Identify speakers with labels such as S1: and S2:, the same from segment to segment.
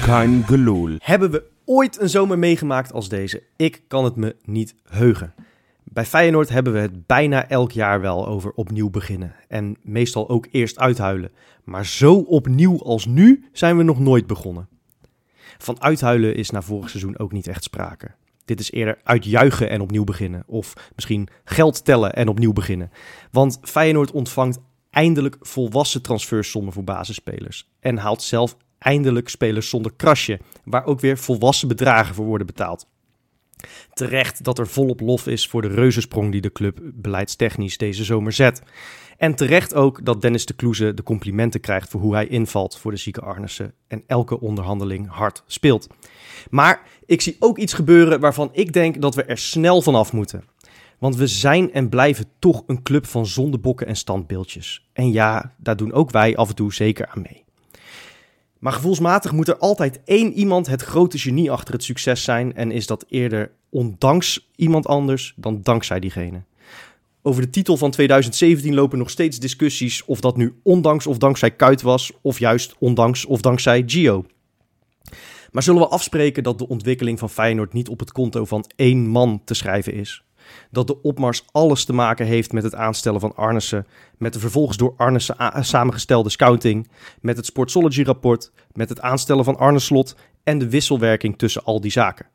S1: kein gelul.
S2: Hebben we ooit een zomer meegemaakt als deze? Ik kan het me niet heugen. Bij Feyenoord hebben we het bijna elk jaar wel over opnieuw beginnen. En meestal ook eerst uithuilen. Maar zo opnieuw als nu zijn we nog nooit begonnen. Van uithuilen is na vorig seizoen ook niet echt sprake. Dit is eerder uitjuichen en opnieuw beginnen. Of misschien geld tellen en opnieuw beginnen. Want Feyenoord ontvangt eindelijk volwassen transfersommen voor basisspelers. En haalt zelf eindelijk spelers zonder krasje. Waar ook weer volwassen bedragen voor worden betaald. Terecht dat er volop lof is voor de reuzensprong die de club beleidstechnisch deze zomer zet. En terecht ook dat Dennis de Kloeze de complimenten krijgt voor hoe hij invalt voor de zieke Arnissen en elke onderhandeling hard speelt. Maar ik zie ook iets gebeuren waarvan ik denk dat we er snel vanaf moeten. Want we zijn en blijven toch een club van zondebokken en standbeeldjes. En ja, daar doen ook wij af en toe zeker aan mee. Maar gevoelsmatig moet er altijd één iemand het grote genie achter het succes zijn. En is dat eerder ondanks iemand anders dan dankzij diegene. Over de titel van 2017 lopen nog steeds discussies of dat nu ondanks of dankzij Kuit was. Of juist ondanks of dankzij Gio. Maar zullen we afspreken dat de ontwikkeling van Feyenoord niet op het konto van één man te schrijven is? Dat de opmars alles te maken heeft met het aanstellen van Arnissen, met de vervolgens door Arnissen a- samengestelde scouting, met het Sportsology-rapport, met het aanstellen van Arne Slot en de wisselwerking tussen al die zaken.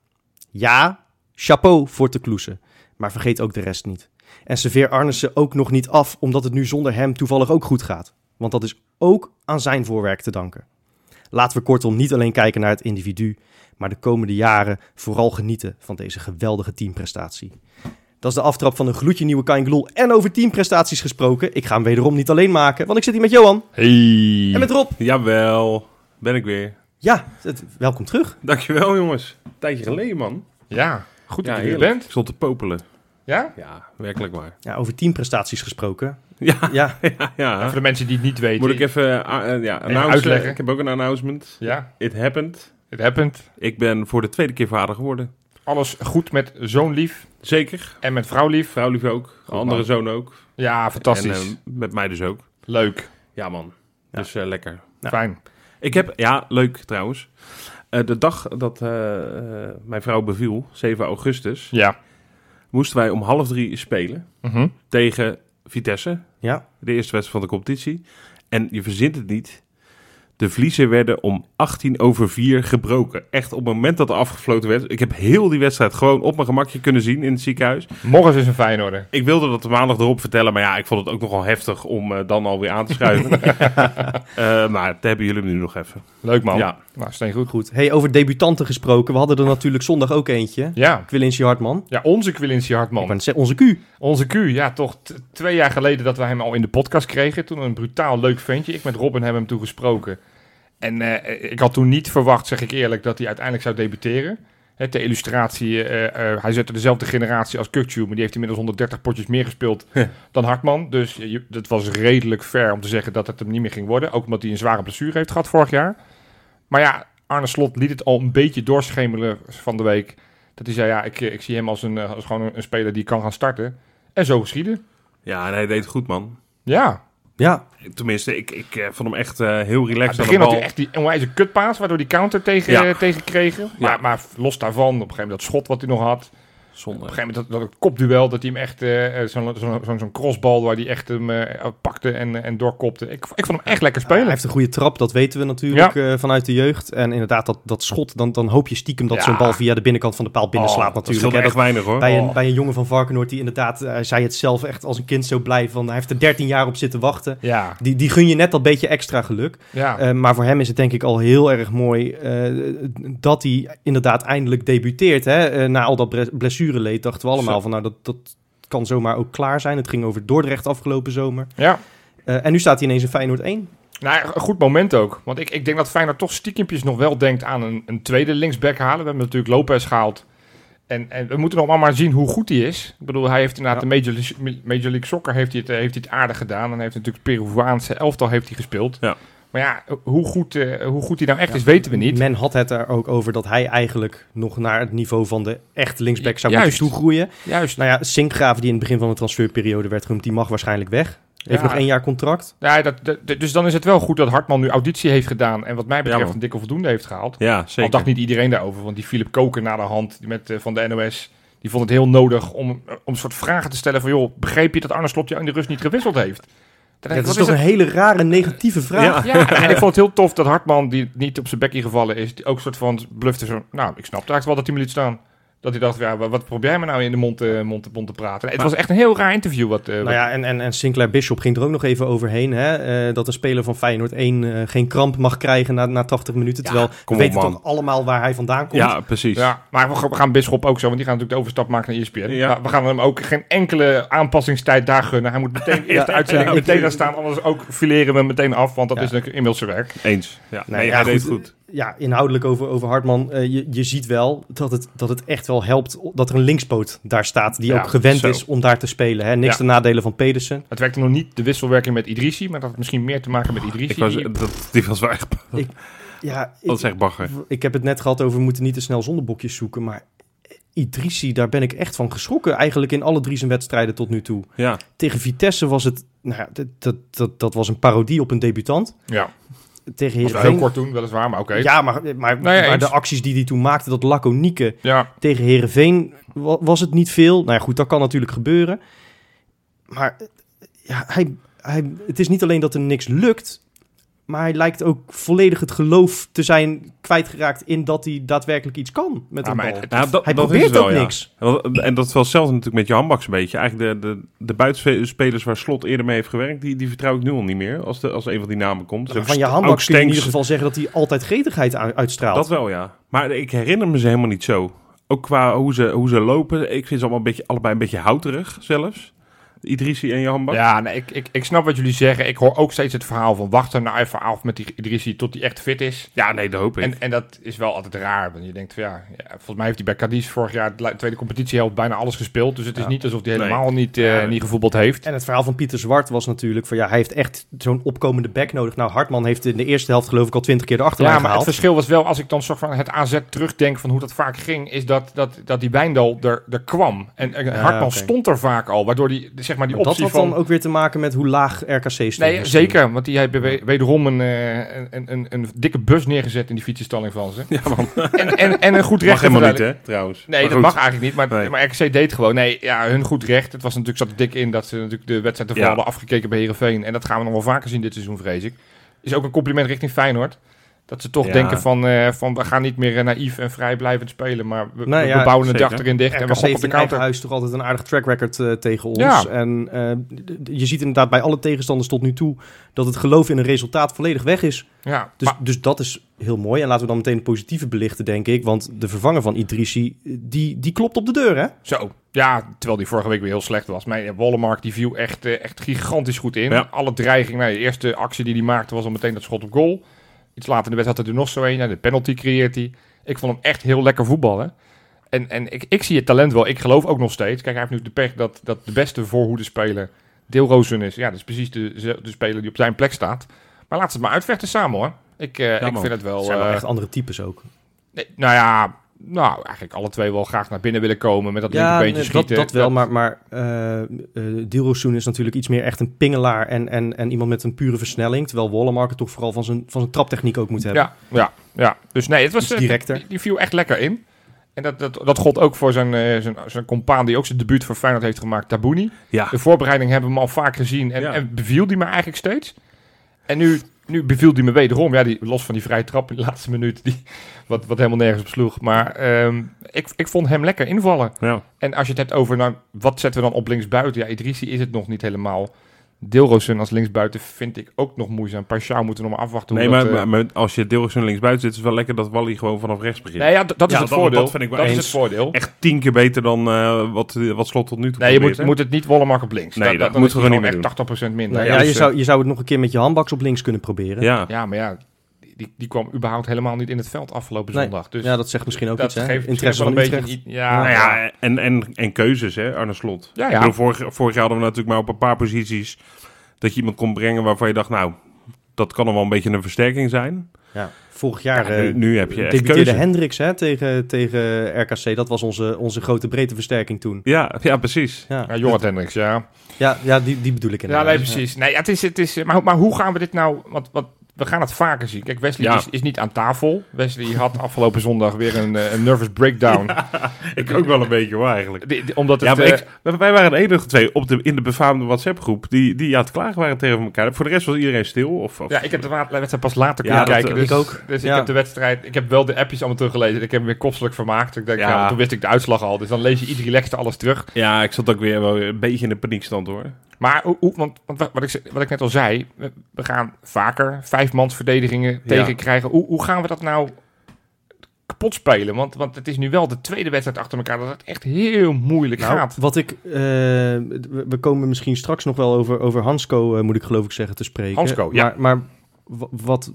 S2: Ja, chapeau voor te kloesen, maar vergeet ook de rest niet. En serveer Arnissen ook nog niet af omdat het nu zonder hem toevallig ook goed gaat, want dat is ook aan zijn voorwerk te danken. Laten we kortom niet alleen kijken naar het individu, maar de komende jaren vooral genieten van deze geweldige teamprestatie. Dat is de aftrap van een gloedje nieuwe Kain Gloel. En over teamprestaties gesproken. Ik ga hem wederom niet alleen maken, want ik zit hier met Johan
S1: Hey.
S2: en met Rob.
S3: Jawel, ben ik weer.
S2: Ja, het- welkom terug.
S3: Dankjewel jongens. Tijdje geleden man.
S1: Ja, goed
S3: Ja,
S1: dat je er
S3: heerlijk.
S1: bent.
S3: Ik stond te popelen.
S1: Ja?
S3: Ja, werkelijk waar.
S2: Ja, over teamprestaties gesproken.
S3: Ja,
S2: Ja,
S3: ja, ja.
S1: Voor de mensen die het niet weten.
S3: Moet ik even eh, eh, ja, announcen?
S1: uitleggen.
S3: Ik heb ook een announcement.
S1: Ja,
S3: It happened.
S1: het happened.
S3: Ik ben voor de tweede keer vader geworden.
S1: Alles goed met zoon lief
S3: Zeker.
S1: en met vrouw lief.
S3: Vrouw lief ook. Andere
S1: man.
S3: zoon ook.
S1: Ja, fantastisch.
S3: En eh, met mij dus ook.
S1: Leuk.
S3: Ja man. Dus eh, lekker.
S2: Ja.
S1: Fijn.
S3: Ik heb, ja, leuk trouwens. Eh, de dag dat eh, eh, mijn vrouw beviel, 7 augustus,
S1: Ja.
S3: moesten wij om half drie spelen
S1: Mhm.
S3: tegen Vitesse.
S2: ja.
S3: De eerste wedstrijd van de competitie. En je verzint het niet. De vliezen werden om 18 over 4 gebroken. Echt op het moment dat er afgefloten werd. Ik heb heel die wedstrijd gewoon op mijn gemakje kunnen zien in het ziekenhuis.
S1: Morgen is een Feyenoorder.
S3: Ik wilde dat de maandag erop vertellen. Maar ja, ik vond het ook nogal heftig om eh, dan alweer aan te schuiven. Eh, maar dat hebben jullie nu nog even.
S1: Leuk man.
S3: Ja.
S1: Nou, steen goed.
S2: goed. Hey, over debutanten gesproken. We hadden er natuurlijk zondag ook eentje.
S1: Ja.
S2: Quilinci Hartman.
S1: Ja, onze Quilincy
S2: Ik
S1: Hartman.
S2: wou net zeggen, Onze Q.
S1: Onze Q, ja, toch t- twee jaar geleden dat we hem al in de podcast kregen. Toen een brutaal leuk ventje. Ik met Robin hebben hem toen gesproken. En eh, ik had toen niet verwacht, zeg ik eerlijk, dat hij uiteindelijk zou debuteren. Hè, ter illustratie, eh, eh, hij zette dezelfde generatie als Kukju, maar die heeft inmiddels 130 potjes meer gespeeld dan Hartman. Dus je- dat was redelijk fair om te zeggen dat het hem niet meer ging worden. Ook omdat hij een zware blessure heeft gehad vorig jaar. Maar ja, Arne Slot liet het al een beetje doorschemeren van de week. Dat hij zei, ja, ik, ik zie hem als, een, eh, als gewoon een- een speler die kan gaan starten. En zo geschieden.
S3: Ja, en hij deed het goed, man.
S1: Ja.
S2: Ja,
S3: Tenminste, ik, ik eh, vond hem echt eh, heel
S1: In het
S3: relaxed aan de
S1: begin had hij
S3: bal.
S1: echt die onwijze kutpaas, waardoor die counter tegen,
S3: Ja.
S1: eh, tegen kregen. Maar,
S3: Ja.
S1: maar los daarvan, op een gegeven moment dat schot wat hij nog had. Op een
S3: Zonde.
S1: gegeven moment dat, dat kopduel, dat hij hem echt, eh, eh, zo'n zo'n zo'n- zo'n crossbal waar hij echt hem eh, pakte en, eh, en doorkopte. Ik, ik vond hem echt lekker
S2: hij
S1: spelen.
S2: heeft een goede trap. Dat weten we natuurlijk eh, vanuit de jeugd. En inderdaad, dat, dat schot. Dan, dan hoop je stiekem dat
S1: Ja.
S2: zo'n bal via de binnenkant van de paal binnenslaat
S1: Oh, dat
S3: Dat
S2: natuurlijk. hè.
S3: echt weinig, hoor.
S2: Bij een,
S1: Oh.
S2: bij een jongen van Varkenoord die inderdaad, eh, hij zei het zelf echt als een kind zo blij van, hij heeft er 13 jaar op zitten wachten.
S1: Ja,
S2: Die, die gun je net dat beetje extra geluk.
S1: ja.
S2: Eh, maar voor hem is het denk ik al heel erg mooi eh, dat hij inderdaad eindelijk debuteert. Hè? Eh, na al dat bre- blessureleed dachten we allemaal
S3: Zo.
S2: van nou dat, dat kan zomaar ook klaar zijn. Het ging over Dordrecht afgelopen zomer.
S1: ja.
S2: Eh, en nu staat hij ineens in Feyenoord 1.
S1: Nou, ja, een goed moment ook. Want ik, ik denk dat Feyenoord toch stiekempjes nog wel denkt aan een, een tweede linksback halen. We hebben natuurlijk Lopez gehaald. En, en we moeten nog maar, maar zien hoe goed hij is. Ik bedoel, hij heeft inderdaad de Major League, Major League Soccer heeft hij het, eh, heeft hij het aardig gedaan. En hij heeft natuurlijk het Peruaanse elftal heeft hij gespeeld.
S3: Ja.
S1: Maar ja, hoe goed, eh, hoe goed hij nou echt is, weten we niet.
S2: Men had het er ook over dat hij eigenlijk nog naar het niveau van de echt linksback zou moeten
S1: Juist.
S2: toegroeien.
S1: Juist.
S2: Nou ja, Sinkgraven die in het begin van de transferperiode werd genoemd, die mag waarschijnlijk weg. Heeft
S1: Ja.
S2: nog één jaar contract.
S1: Ja, dat, dat- dus dan is het wel goed dat Hartman nu auditie heeft gedaan. En wat mij betreft
S3: Ja, man.
S1: een dikke voldoende heeft gehaald.
S3: Ja,
S1: Al
S3: zeker.
S1: dacht niet iedereen daarover. Want die Philip Koken na de hand die met, eh, van de NOS... die vond het heel nodig om, eh, om een soort vragen te stellen van... joh, begreep je dat Arne Slot jou in de rust niet gewisseld heeft? Dan denk ik,
S2: dat is toch
S1: wat
S2: een hele rare negatieve vraag.
S3: Ja.
S1: Ja, en ik vond het heel tof dat Hartman, die niet op zijn bekkie gevallen is, die ook een soort van blufte zo. Nou, ik snap eigenlijk wel dat hij me liet staan. Dat hij dacht, ja, wa- wat probeer jij me nou in de mond, eh, mond, mond te praten? Het
S3: Maar-
S1: was echt een heel raar interview. Wat, eh,
S2: Nou
S1: wat-
S2: ja, en, en, en Sinclair Bishop ging er ook nog even overheen. Hè? eh, dat een speler van Feyenoord 1 eh, geen kramp mag krijgen na, na 80 minuten.
S1: Ja,
S2: terwijl we
S3: kom op,
S2: weten
S3: man.
S2: toch allemaal waar hij vandaan komt.
S3: Ja, precies.
S1: ja, maar we gaan- we gaan Bisschop ook zo, want die gaan natuurlijk de overstap maken naar E ESPN.
S3: Ja.
S1: Maar We gaan hem ook geen enkele aanpassingstijd daar gunnen. Hij moet meteen eerst de uitzending
S2: ja,
S1: meteen
S2: ik-
S1: daar staan, anders ook fileren we hem meteen af, want dat
S2: Ja.
S1: is natuurlijk inmiddels zijn werk.
S3: Eens. Ja.
S2: Nee,
S3: Nee,
S2: ja,
S3: hij deed
S2: goed.
S3: het goed.
S2: Ja, inhoudelijk over, over Hartman. eh, je, je ziet wel dat het, dat het echt wel helpt dat er een linkspoot daar staat. Die
S1: Ja,
S2: ook gewend
S3: zo.
S2: is om daar te spelen. Hè? Niks
S1: Ja.
S2: te nadelen van Pedersen.
S1: Het werkte nog niet de wisselwerking met Idrisi, maar dat had misschien meer te maken met Idrisi.
S3: Ik was, eh,
S1: die-
S3: dat, die was wel echt,
S2: Ja,
S3: dat is
S2: ik,
S3: echt bagger.
S2: ik heb het net gehad over we moeten niet te snel zondebokjes zoeken. Maar Idrissi, daar ben ik echt van geschrokken. Eigenlijk in alle drie zijn wedstrijden tot nu toe.
S3: Ja.
S2: Tegen Vitesse was het... Nou, ja, dat, dat, dat, dat was een parodie op een debutant.
S1: ja,
S2: Tegen
S1: was wel heel
S2: Heerenveen...
S1: kort toen, weliswaar, maar oké.
S2: Ja, maar, maar, maar,
S1: Nou ja, eens.
S2: de acties die hij toen maakte, dat laconieke
S1: ja,
S2: tegen Herenveen was het niet veel. Nou ja, goed, dat kan natuurlijk gebeuren. Maar eh, ja, hij, hij, het is niet alleen dat er niks lukt, maar hij lijkt ook volledig het geloof te zijn kwijtgeraakt in dat hij daadwerkelijk iets kan met
S1: Ja,
S2: een
S1: maar
S2: bal.
S1: het-
S3: Ja, dat,
S2: hij
S3: dat is
S2: probeert
S3: het wel,
S2: ook
S3: ja.
S2: niks.
S3: Want- En dat is wel hetzelfde natuurlijk met je handbaks een beetje. Eigenlijk de, de, de buitenspelers waar Slot eerder mee heeft gewerkt, die, die vertrouw ik nu al niet meer. Als, de, als een van die namen komt. Dus ook
S2: Van je
S3: St-
S2: handbak kun
S3: ook
S2: je in
S3: Stenks-
S2: ieder geval zeggen dat hij altijd gretigheid u- uitstraalt.
S3: Dat wel, ja. Maar ik herinner me ze helemaal niet zo. Ook qua hoe ze, hoe ze lopen. Ik vind ze allemaal een beetje, allebei een beetje houterig zelfs. Idrissi en je handbak.
S1: Ja, nee, ik, ik, ik snap wat jullie zeggen. Ik hoor ook steeds het verhaal van wachten nou even af met die Idrissi tot hij echt fit is.
S3: Ja, nee, dat hoop ik.
S1: En, en dat is wel altijd raar. Want je denkt, van, ja, ja, volgens mij heeft hij bij Cadiz vorig jaar de la- tweede competitiehelft bijna alles gespeeld. Dus het is
S3: Ja.
S1: niet alsof hij
S3: Nee.
S1: helemaal niet, eh,
S3: Ja.
S1: niet gevoetbald heeft.
S2: En het verhaal van Pieter Zwart was natuurlijk van ja, hij heeft echt zo'n opkomende back nodig. Nou, Hartman heeft in de eerste helft geloof ik al twintig keer de achterlijn
S1: Ja, maar het
S2: gehaald.
S1: verschil was wel, als ik dan soort van het AZ terugdenk van hoe dat vaak ging, is dat, dat, dat die Wijndal er, er kwam. En, en
S2: Ja,
S1: Hartman
S2: oké.
S1: stond er vaak al, waardoor die, zeg maar die
S2: Maar dat
S1: optie
S2: had
S1: van...
S2: dan ook weer te maken met hoe laag RKC stond.
S1: Nee,
S2: misschien.
S1: zeker, want die hebben we- wederom een, eh, een, een, een, een dikke bus neergezet in die fietsenstalling van ze.
S3: ja, man.
S1: En, en, en een goed
S3: Mag
S1: recht.
S3: helemaal niet, hè, trouwens.
S1: Nee,
S3: Maar
S1: dat
S3: goed.
S1: mag eigenlijk niet. Maar,
S3: Nee.
S1: maar RKC deed het gewoon. Nee, ja, hun goed recht. Het was natuurlijk, zat er dik in dat ze natuurlijk de wedstrijd ervoor
S3: Ja.
S1: hadden afgekeken bij Herenveen. En dat gaan we nog wel vaker zien dit seizoen, vrees ik. Is ook een compliment richting Feyenoord. Dat ze toch
S3: Ja.
S1: denken van, eh, van, we gaan niet meer eh, naïef en vrijblijvend spelen. Maar we,
S2: Nou
S1: we
S2: ja,
S1: bouwen het
S3: zeker.
S1: achterin dicht en we
S2: RKC
S1: gokken
S2: heeft
S1: op de
S2: in eigen
S1: counter.
S2: huis toch altijd een aardig track record eh, tegen ons.
S1: Ja.
S2: En eh, d- d- je ziet inderdaad bij alle tegenstanders tot nu toe dat het geloof in een resultaat volledig weg is.
S1: Ja,
S2: Dus,
S1: maar-
S2: dus dat is heel mooi. En laten we dan meteen het positieve belichten, denk ik. Want de vervanger van Idrissi, die, die klopt op de deur, hè?
S1: Zo. Ja, terwijl die vorige week weer heel slecht was. Maar ja, Wollemark die viel echt, eh, echt gigantisch goed in.
S3: Ja.
S1: Alle dreiging. Nou, de eerste actie die hij maakte was al meteen dat schot op goal. Iets later in de wedstrijd had hij er nog zo een. Ja, de penalty creëert hij. Ik vond hem echt heel lekker voetballen. En, en ik, ik zie het talent wel. Ik geloof ook nog steeds. Kijk, hij heeft nu de pech dat, dat de beste voorhoede speler Deelrozen is. Ja, dat is precies de, de speler die op zijn plek staat. Maar laat ze het maar uitvechten samen hoor. Ik, eh, ik
S3: man.
S1: vind het wel...
S2: Dat zijn wel
S1: eh,
S2: echt andere types ook.
S1: nee, nou ja, nou, eigenlijk alle twee wel graag naar binnen willen komen. Met dat linkerbeentje
S2: nee, dat,
S1: schieten.
S2: dat wel. Maar, maar eh eh, Dilrosun is natuurlijk iets meer echt een pingelaar en, en, en iemand met een pure versnelling. Terwijl Wollemark het toch vooral van zijn, van zijn traptechniek ook moet hebben.
S1: Ja, ja, ja. Dus nee, het was
S2: Iets
S1: eh,
S2: directer.
S1: Die, die viel echt lekker in. En dat, dat, dat gold ook voor zijn, eh, zijn, zijn compaan die ook zijn debuut voor Feyenoord heeft gemaakt, Tabouni.
S3: Ja,
S1: De voorbereiding hebben we hem al vaak gezien en,
S3: Ja.
S1: en beviel die me eigenlijk steeds. En nu, nu beviel die me wederom. Ja, die, los van die vrije trap in de laatste minuut, die, wat, wat helemaal nergens op sloeg. Maar ehm, ik, ik vond hem lekker invallen.
S3: ja.
S1: En als je het hebt over, nou, wat zetten we dan op linksbuiten? Ja, Idrissi is het nog niet helemaal. Deelrozen als linksbuiten vind ik ook nog moeizaam. Paschal moeten we nog maar afwachten. hoe
S3: nee maar,
S1: dat, eh,
S3: maar- maar als je Dilgerson linksbuiten zit, is het wel lekker dat Wally gewoon vanaf rechts begint.
S1: Nee, ja, d- dat is
S3: Ja,
S1: het
S3: dat-
S1: voordeel.
S3: dat vind ik wel
S1: is
S3: eens.
S1: het voordeel.
S3: Echt tien keer beter dan eh, wat, wat Slot tot nu toe
S1: Nee, je moet,
S3: probeert, hè?
S1: moet het niet Wollemark op links.
S3: Nee,
S1: Da- da-
S3: dat
S1: dan
S3: moeten
S1: is
S3: we
S1: die
S3: gewoon niet
S1: gewoon echt 80% minder.
S2: Nou,
S1: ja,
S2: ja, je,
S1: dus,
S2: zou, je zou het nog een keer met je handbaks op links kunnen proberen.
S3: Ja.
S1: eh, ja, maar ja, die, die kwam überhaupt helemaal niet in het veld afgelopen
S2: Nee.
S1: zondag. Dus
S2: ja, dat zegt misschien ook
S1: dat
S2: iets. Hè?
S1: geeft
S2: Interesse
S1: misschien
S2: van
S1: wel
S2: Utrecht.
S1: een beetje... Ja,
S3: Nou
S1: ja, ja.
S3: ja, en, en, en keuzes, hè, Arne Slot.
S1: Ja,
S3: Ik
S1: ja.
S3: bedoel, vorig, vorig jaar hadden we natuurlijk maar op een paar posities dat je iemand kon brengen waarvan je dacht, nou, dat kan dan wel een beetje een versterking zijn.
S2: Ja, vorig jaar
S3: Ja, nu,
S2: eh
S3: nu heb je echt
S2: debuteerde
S3: keuze.
S2: Hendricks hè, tegen, tegen RKC. Dat was onze, onze grote breedte versterking toen.
S3: Ja, ja, precies.
S1: Ja,
S2: Ja,
S1: Jorrit Hendricks, ja.
S2: ja, ja die, die bedoel ik
S1: Ja,
S2: inderdaad.
S1: nee, precies. Nee, ja, het is, het is, maar, maar hoe gaan we dit nou... Want, want we gaan het vaker zien. Kijk, Wesley
S3: Ja.
S1: is, is niet aan tafel. Wesley had afgelopen zondag weer een, eh, een nervous breakdown.
S3: Ik ook wel een beetje hoor, eigenlijk.
S1: Die- die- omdat het...
S3: Ja, maar
S1: eh,
S3: ik- wij- wij waren de enige twee op de, in de befaamde WhatsApp-groep die, die aan het klagen waren tegen elkaar. Voor de rest was iedereen stil. Of, of-
S1: ja, ik heb de wa- wedstrijd pas later kunnen
S3: Ja, dat,
S1: kijken.
S3: eh,
S1: Dus,
S2: ik ook.
S1: Dus
S2: Ja.
S1: ik heb de wedstrijd... Ik heb wel de appjes allemaal teruggelezen. Ik heb me weer kopselijk vermaakt. Ik denk,
S3: Ja.
S1: ja. want toen wist ik de uitslag al. Dus dan lees je iets relaxter alles terug.
S3: ja, ik zat ook weer wel een beetje in de paniekstand hoor.
S1: Maar hoe, hoe- want, want wat, ik, ze- wat ik net al zei, we, we gaan vaker vijfmansverdedigingen tegenkrijgen. Hoe, hoe gaan we dat nou kapot spelen? Want, want het is nu wel de tweede wedstrijd achter elkaar dat het echt heel moeilijk
S2: Nou,
S1: gaat.
S2: wat ik, eh, we we komen misschien straks nog wel over, over Hansco, eh, moet ik geloof ik zeggen, te spreken.
S1: Hansco, ja.
S2: Maar, maar wa- wat,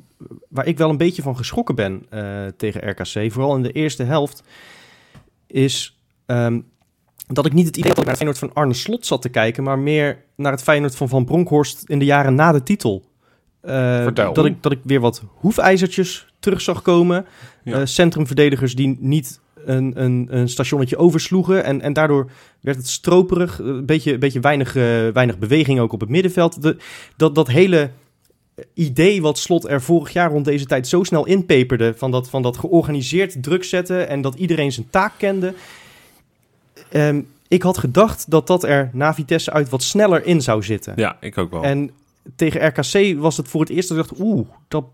S2: waar ik wel een beetje van geschrokken ben eh, tegen RKC, vooral in de eerste helft, is ehm, dat ik niet het idee had dat ik naar het Feyenoord van Arne Slot zat te kijken, maar meer naar het Feyenoord van Van Bronckhorst in de jaren na de titel. Eh,
S1: Vertel.
S2: dat, ik, dat ik weer wat hoefijzertjes terug zag komen.
S3: Ja.
S2: Eh, centrumverdedigers die niet een, een, een stationnetje oversloegen. En, en daardoor werd het stroperig. Eh, Een beetje, een beetje weinig, eh, weinig beweging ook op het middenveld. De, dat, dat hele idee wat Slot er vorig jaar rond deze tijd zo snel inpeperde... van dat, van dat georganiseerd druk zetten en dat iedereen zijn taak kende... Ehm, ik had gedacht dat dat er na Vitesse uit wat sneller in zou zitten.
S3: Ja, ik ook wel.
S2: En tegen RKC was het voor het eerst dat ik dacht... oeh, dat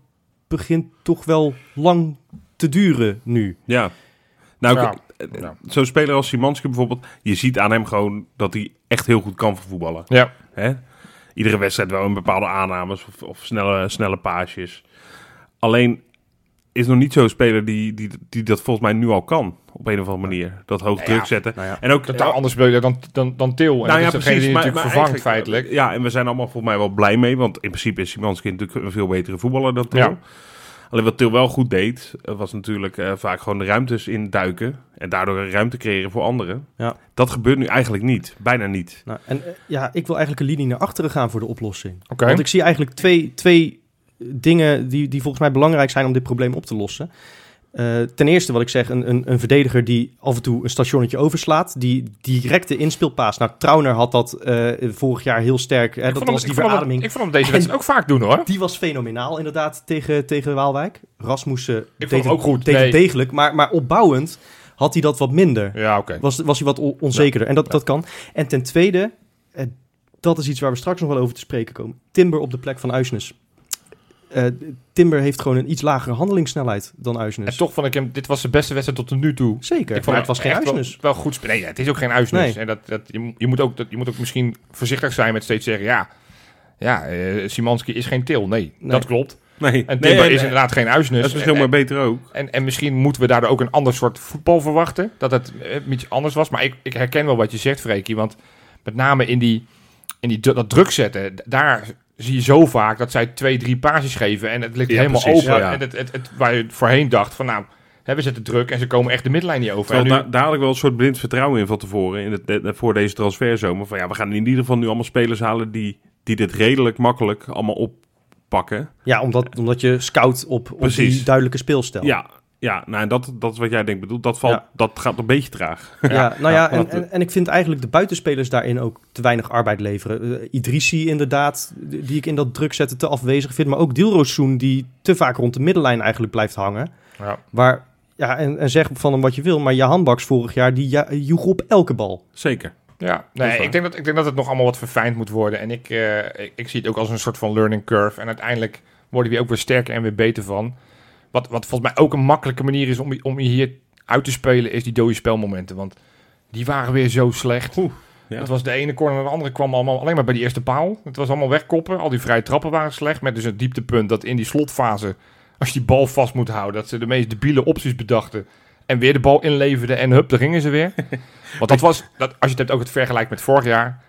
S2: begint toch wel lang te duren nu.
S3: Ja. Nou, ik-
S1: Ja.
S3: eh,
S1: Ja.
S3: zo'n speler als Simanski bijvoorbeeld, je ziet aan hem gewoon dat hij echt heel goed kan voetballen.
S1: Ja.
S3: Hè? Iedere wedstrijd wel een bepaalde aannames of, of snelle, snelle paasjes. Alleen is nog niet zo'n speler die, die, die dat volgens mij nu al kan. Op een of andere manier. Dat hoog druk zetten.
S2: nou ja.
S3: En ook
S1: Totaal anders speel je dan, dan, dan Til. En
S2: Nou
S1: dat is degene die
S3: Nou maar- maar
S1: natuurlijk
S3: eigenlijk,
S1: vervangt
S3: eh,
S2: eh,
S1: feitelijk.
S3: Ja, en we zijn allemaal volgens mij wel blij mee. Want in principe is Simanski natuurlijk een veel betere voetballer dan Til.
S1: Ja.
S3: Alleen wat Til wel goed deed, eh, was natuurlijk eh, vaak gewoon de ruimtes induiken. En daardoor ruimte creëren voor anderen.
S2: Ja.
S3: Dat gebeurt nu eigenlijk niet. Bijna niet.
S2: Nou, en eh, ja, ik wil eigenlijk een linie naar achteren gaan voor de oplossing.
S1: Oké.
S2: Want ik zie eigenlijk twee, twee eh, dingen die, die volgens mij belangrijk zijn om dit probleem op te lossen. Eh, ten eerste wat ik zeg, een, een, een verdediger die af en toe een stationnetje overslaat. Die directe inspeelpaas. Nou, Trauner had dat eh, vorig jaar heel sterk. Hè,
S1: Ik
S2: dat
S1: vond hem-
S2: was die
S1: ik vond hem-
S2: verademing.
S1: Ik vond hem deze wedstrijd ook vaak doen hoor.
S2: Die was fenomenaal inderdaad tegen, tegen Waalwijk. Rasmussen
S1: vond
S2: deed
S1: hem ook
S2: het-
S1: goed,
S2: deed het
S1: nee.
S2: degelijk. Maar, maar opbouwend had hij dat wat minder
S1: Ja, oké.
S2: was, was hij wat on- onzekerder. En dat, dat kan. En ten tweede, eh, dat is iets waar we straks nog wel over te spreken komen. Timber op de plek van Uisnes. Eh, Timber heeft gewoon een iets lagere handelingssnelheid dan
S1: En
S2: Uisnes.
S1: toch vond ik hem, dit was de beste wedstrijd tot nu toe.
S2: Zeker.
S1: Ik
S2: eh,
S1: vond
S2: maar
S1: het
S2: het was geen
S1: echt wel-
S2: Uisnes.
S1: Wel, goed spelen. Nee, het is ook geen uisnes.
S2: Nee.
S1: En dat, dat, je, mo- je moet ook, dat, je moet ook misschien voorzichtig zijn met steeds zeggen: ja, ja eh, Simanski is geen til. Nee,
S2: Nee.
S1: dat klopt.
S3: Nee,
S1: En Timber
S3: nee,
S1: is
S3: nee.
S1: inderdaad dus- geen uisnes.
S3: Dat is misschien
S1: en,
S3: maar beter ook.
S1: en, en misschien moeten we daardoor ook een ander soort voetbal verwachten. Dat het eh, iets anders was. Maar ik, ik herken wel wat je zegt, Freekie. Want met name in, die, in die, dru- dat druk zetten, d- daar zie je zo vaak dat zij twee, drie paasjes geven. En het ligt
S3: Ja,
S1: helemaal
S3: precies,
S1: open.
S3: ja.
S1: En het, het, het- waar je voorheen dacht van nou, hè, we zetten druk en ze komen echt de middenlijn niet over. En
S3: Terwijl
S1: nu-
S3: da- daar had ik wel een soort blind vertrouwen in van tevoren. In het, de- voor deze transferzomer. Van ja, we gaan in ieder geval nu allemaal spelers halen die, die dit redelijk makkelijk allemaal oppakken.
S2: Ja, omdat, omdat je scout op, op
S3: Precies.
S2: die duidelijke speelstijl.
S3: Ja, ja nou, en dat, dat is wat jij denkt bedoelt. Dat, valt,
S2: Ja.
S3: dat gaat een beetje traag.
S2: Ja, nou ja,
S3: Ja,
S2: en,
S3: want-
S2: en, en ik vind eigenlijk de buitenspelers daarin ook te weinig arbeid leveren. Eh, Idrissi inderdaad, die die ik in dat druk zetten te afwezig vind. Maar ook Dilrosun, die te vaak rond de middenlijn eigenlijk blijft hangen.
S1: Ja.
S2: Waar, ja, en, en zeg van hem wat je wil, maar Jahan Baks vorig jaar, die ja, joeg op elke bal.
S3: Zeker.
S1: Ja,
S3: is
S1: nee,
S3: waar.
S1: ik, denk dat, ik denk dat het nog allemaal wat verfijnd moet worden. En ik, eh, ik, ik zie het ook als een soort van learning curve. En uiteindelijk worden we hier ook weer sterker en weer beter van. Wat, wat volgens mij ook een makkelijke manier is om, je- om je hier uit te spelen, is die dode spelmomenten. Want die waren weer zo slecht.
S3: ja.
S1: Het was de ene corner en de andere kwam allemaal alleen maar bij die eerste paal. Het was allemaal wegkoppen. Al die vrije trappen waren slecht. Met dus een dieptepunt dat in die slotfase, als je die bal vast moet houden, dat ze de meest debiele opties bedachten. En weer de bal inleverden en hup, daar gingen ze weer. Want dat was, dat, als je het hebt ook het vergelijk met vorig jaar.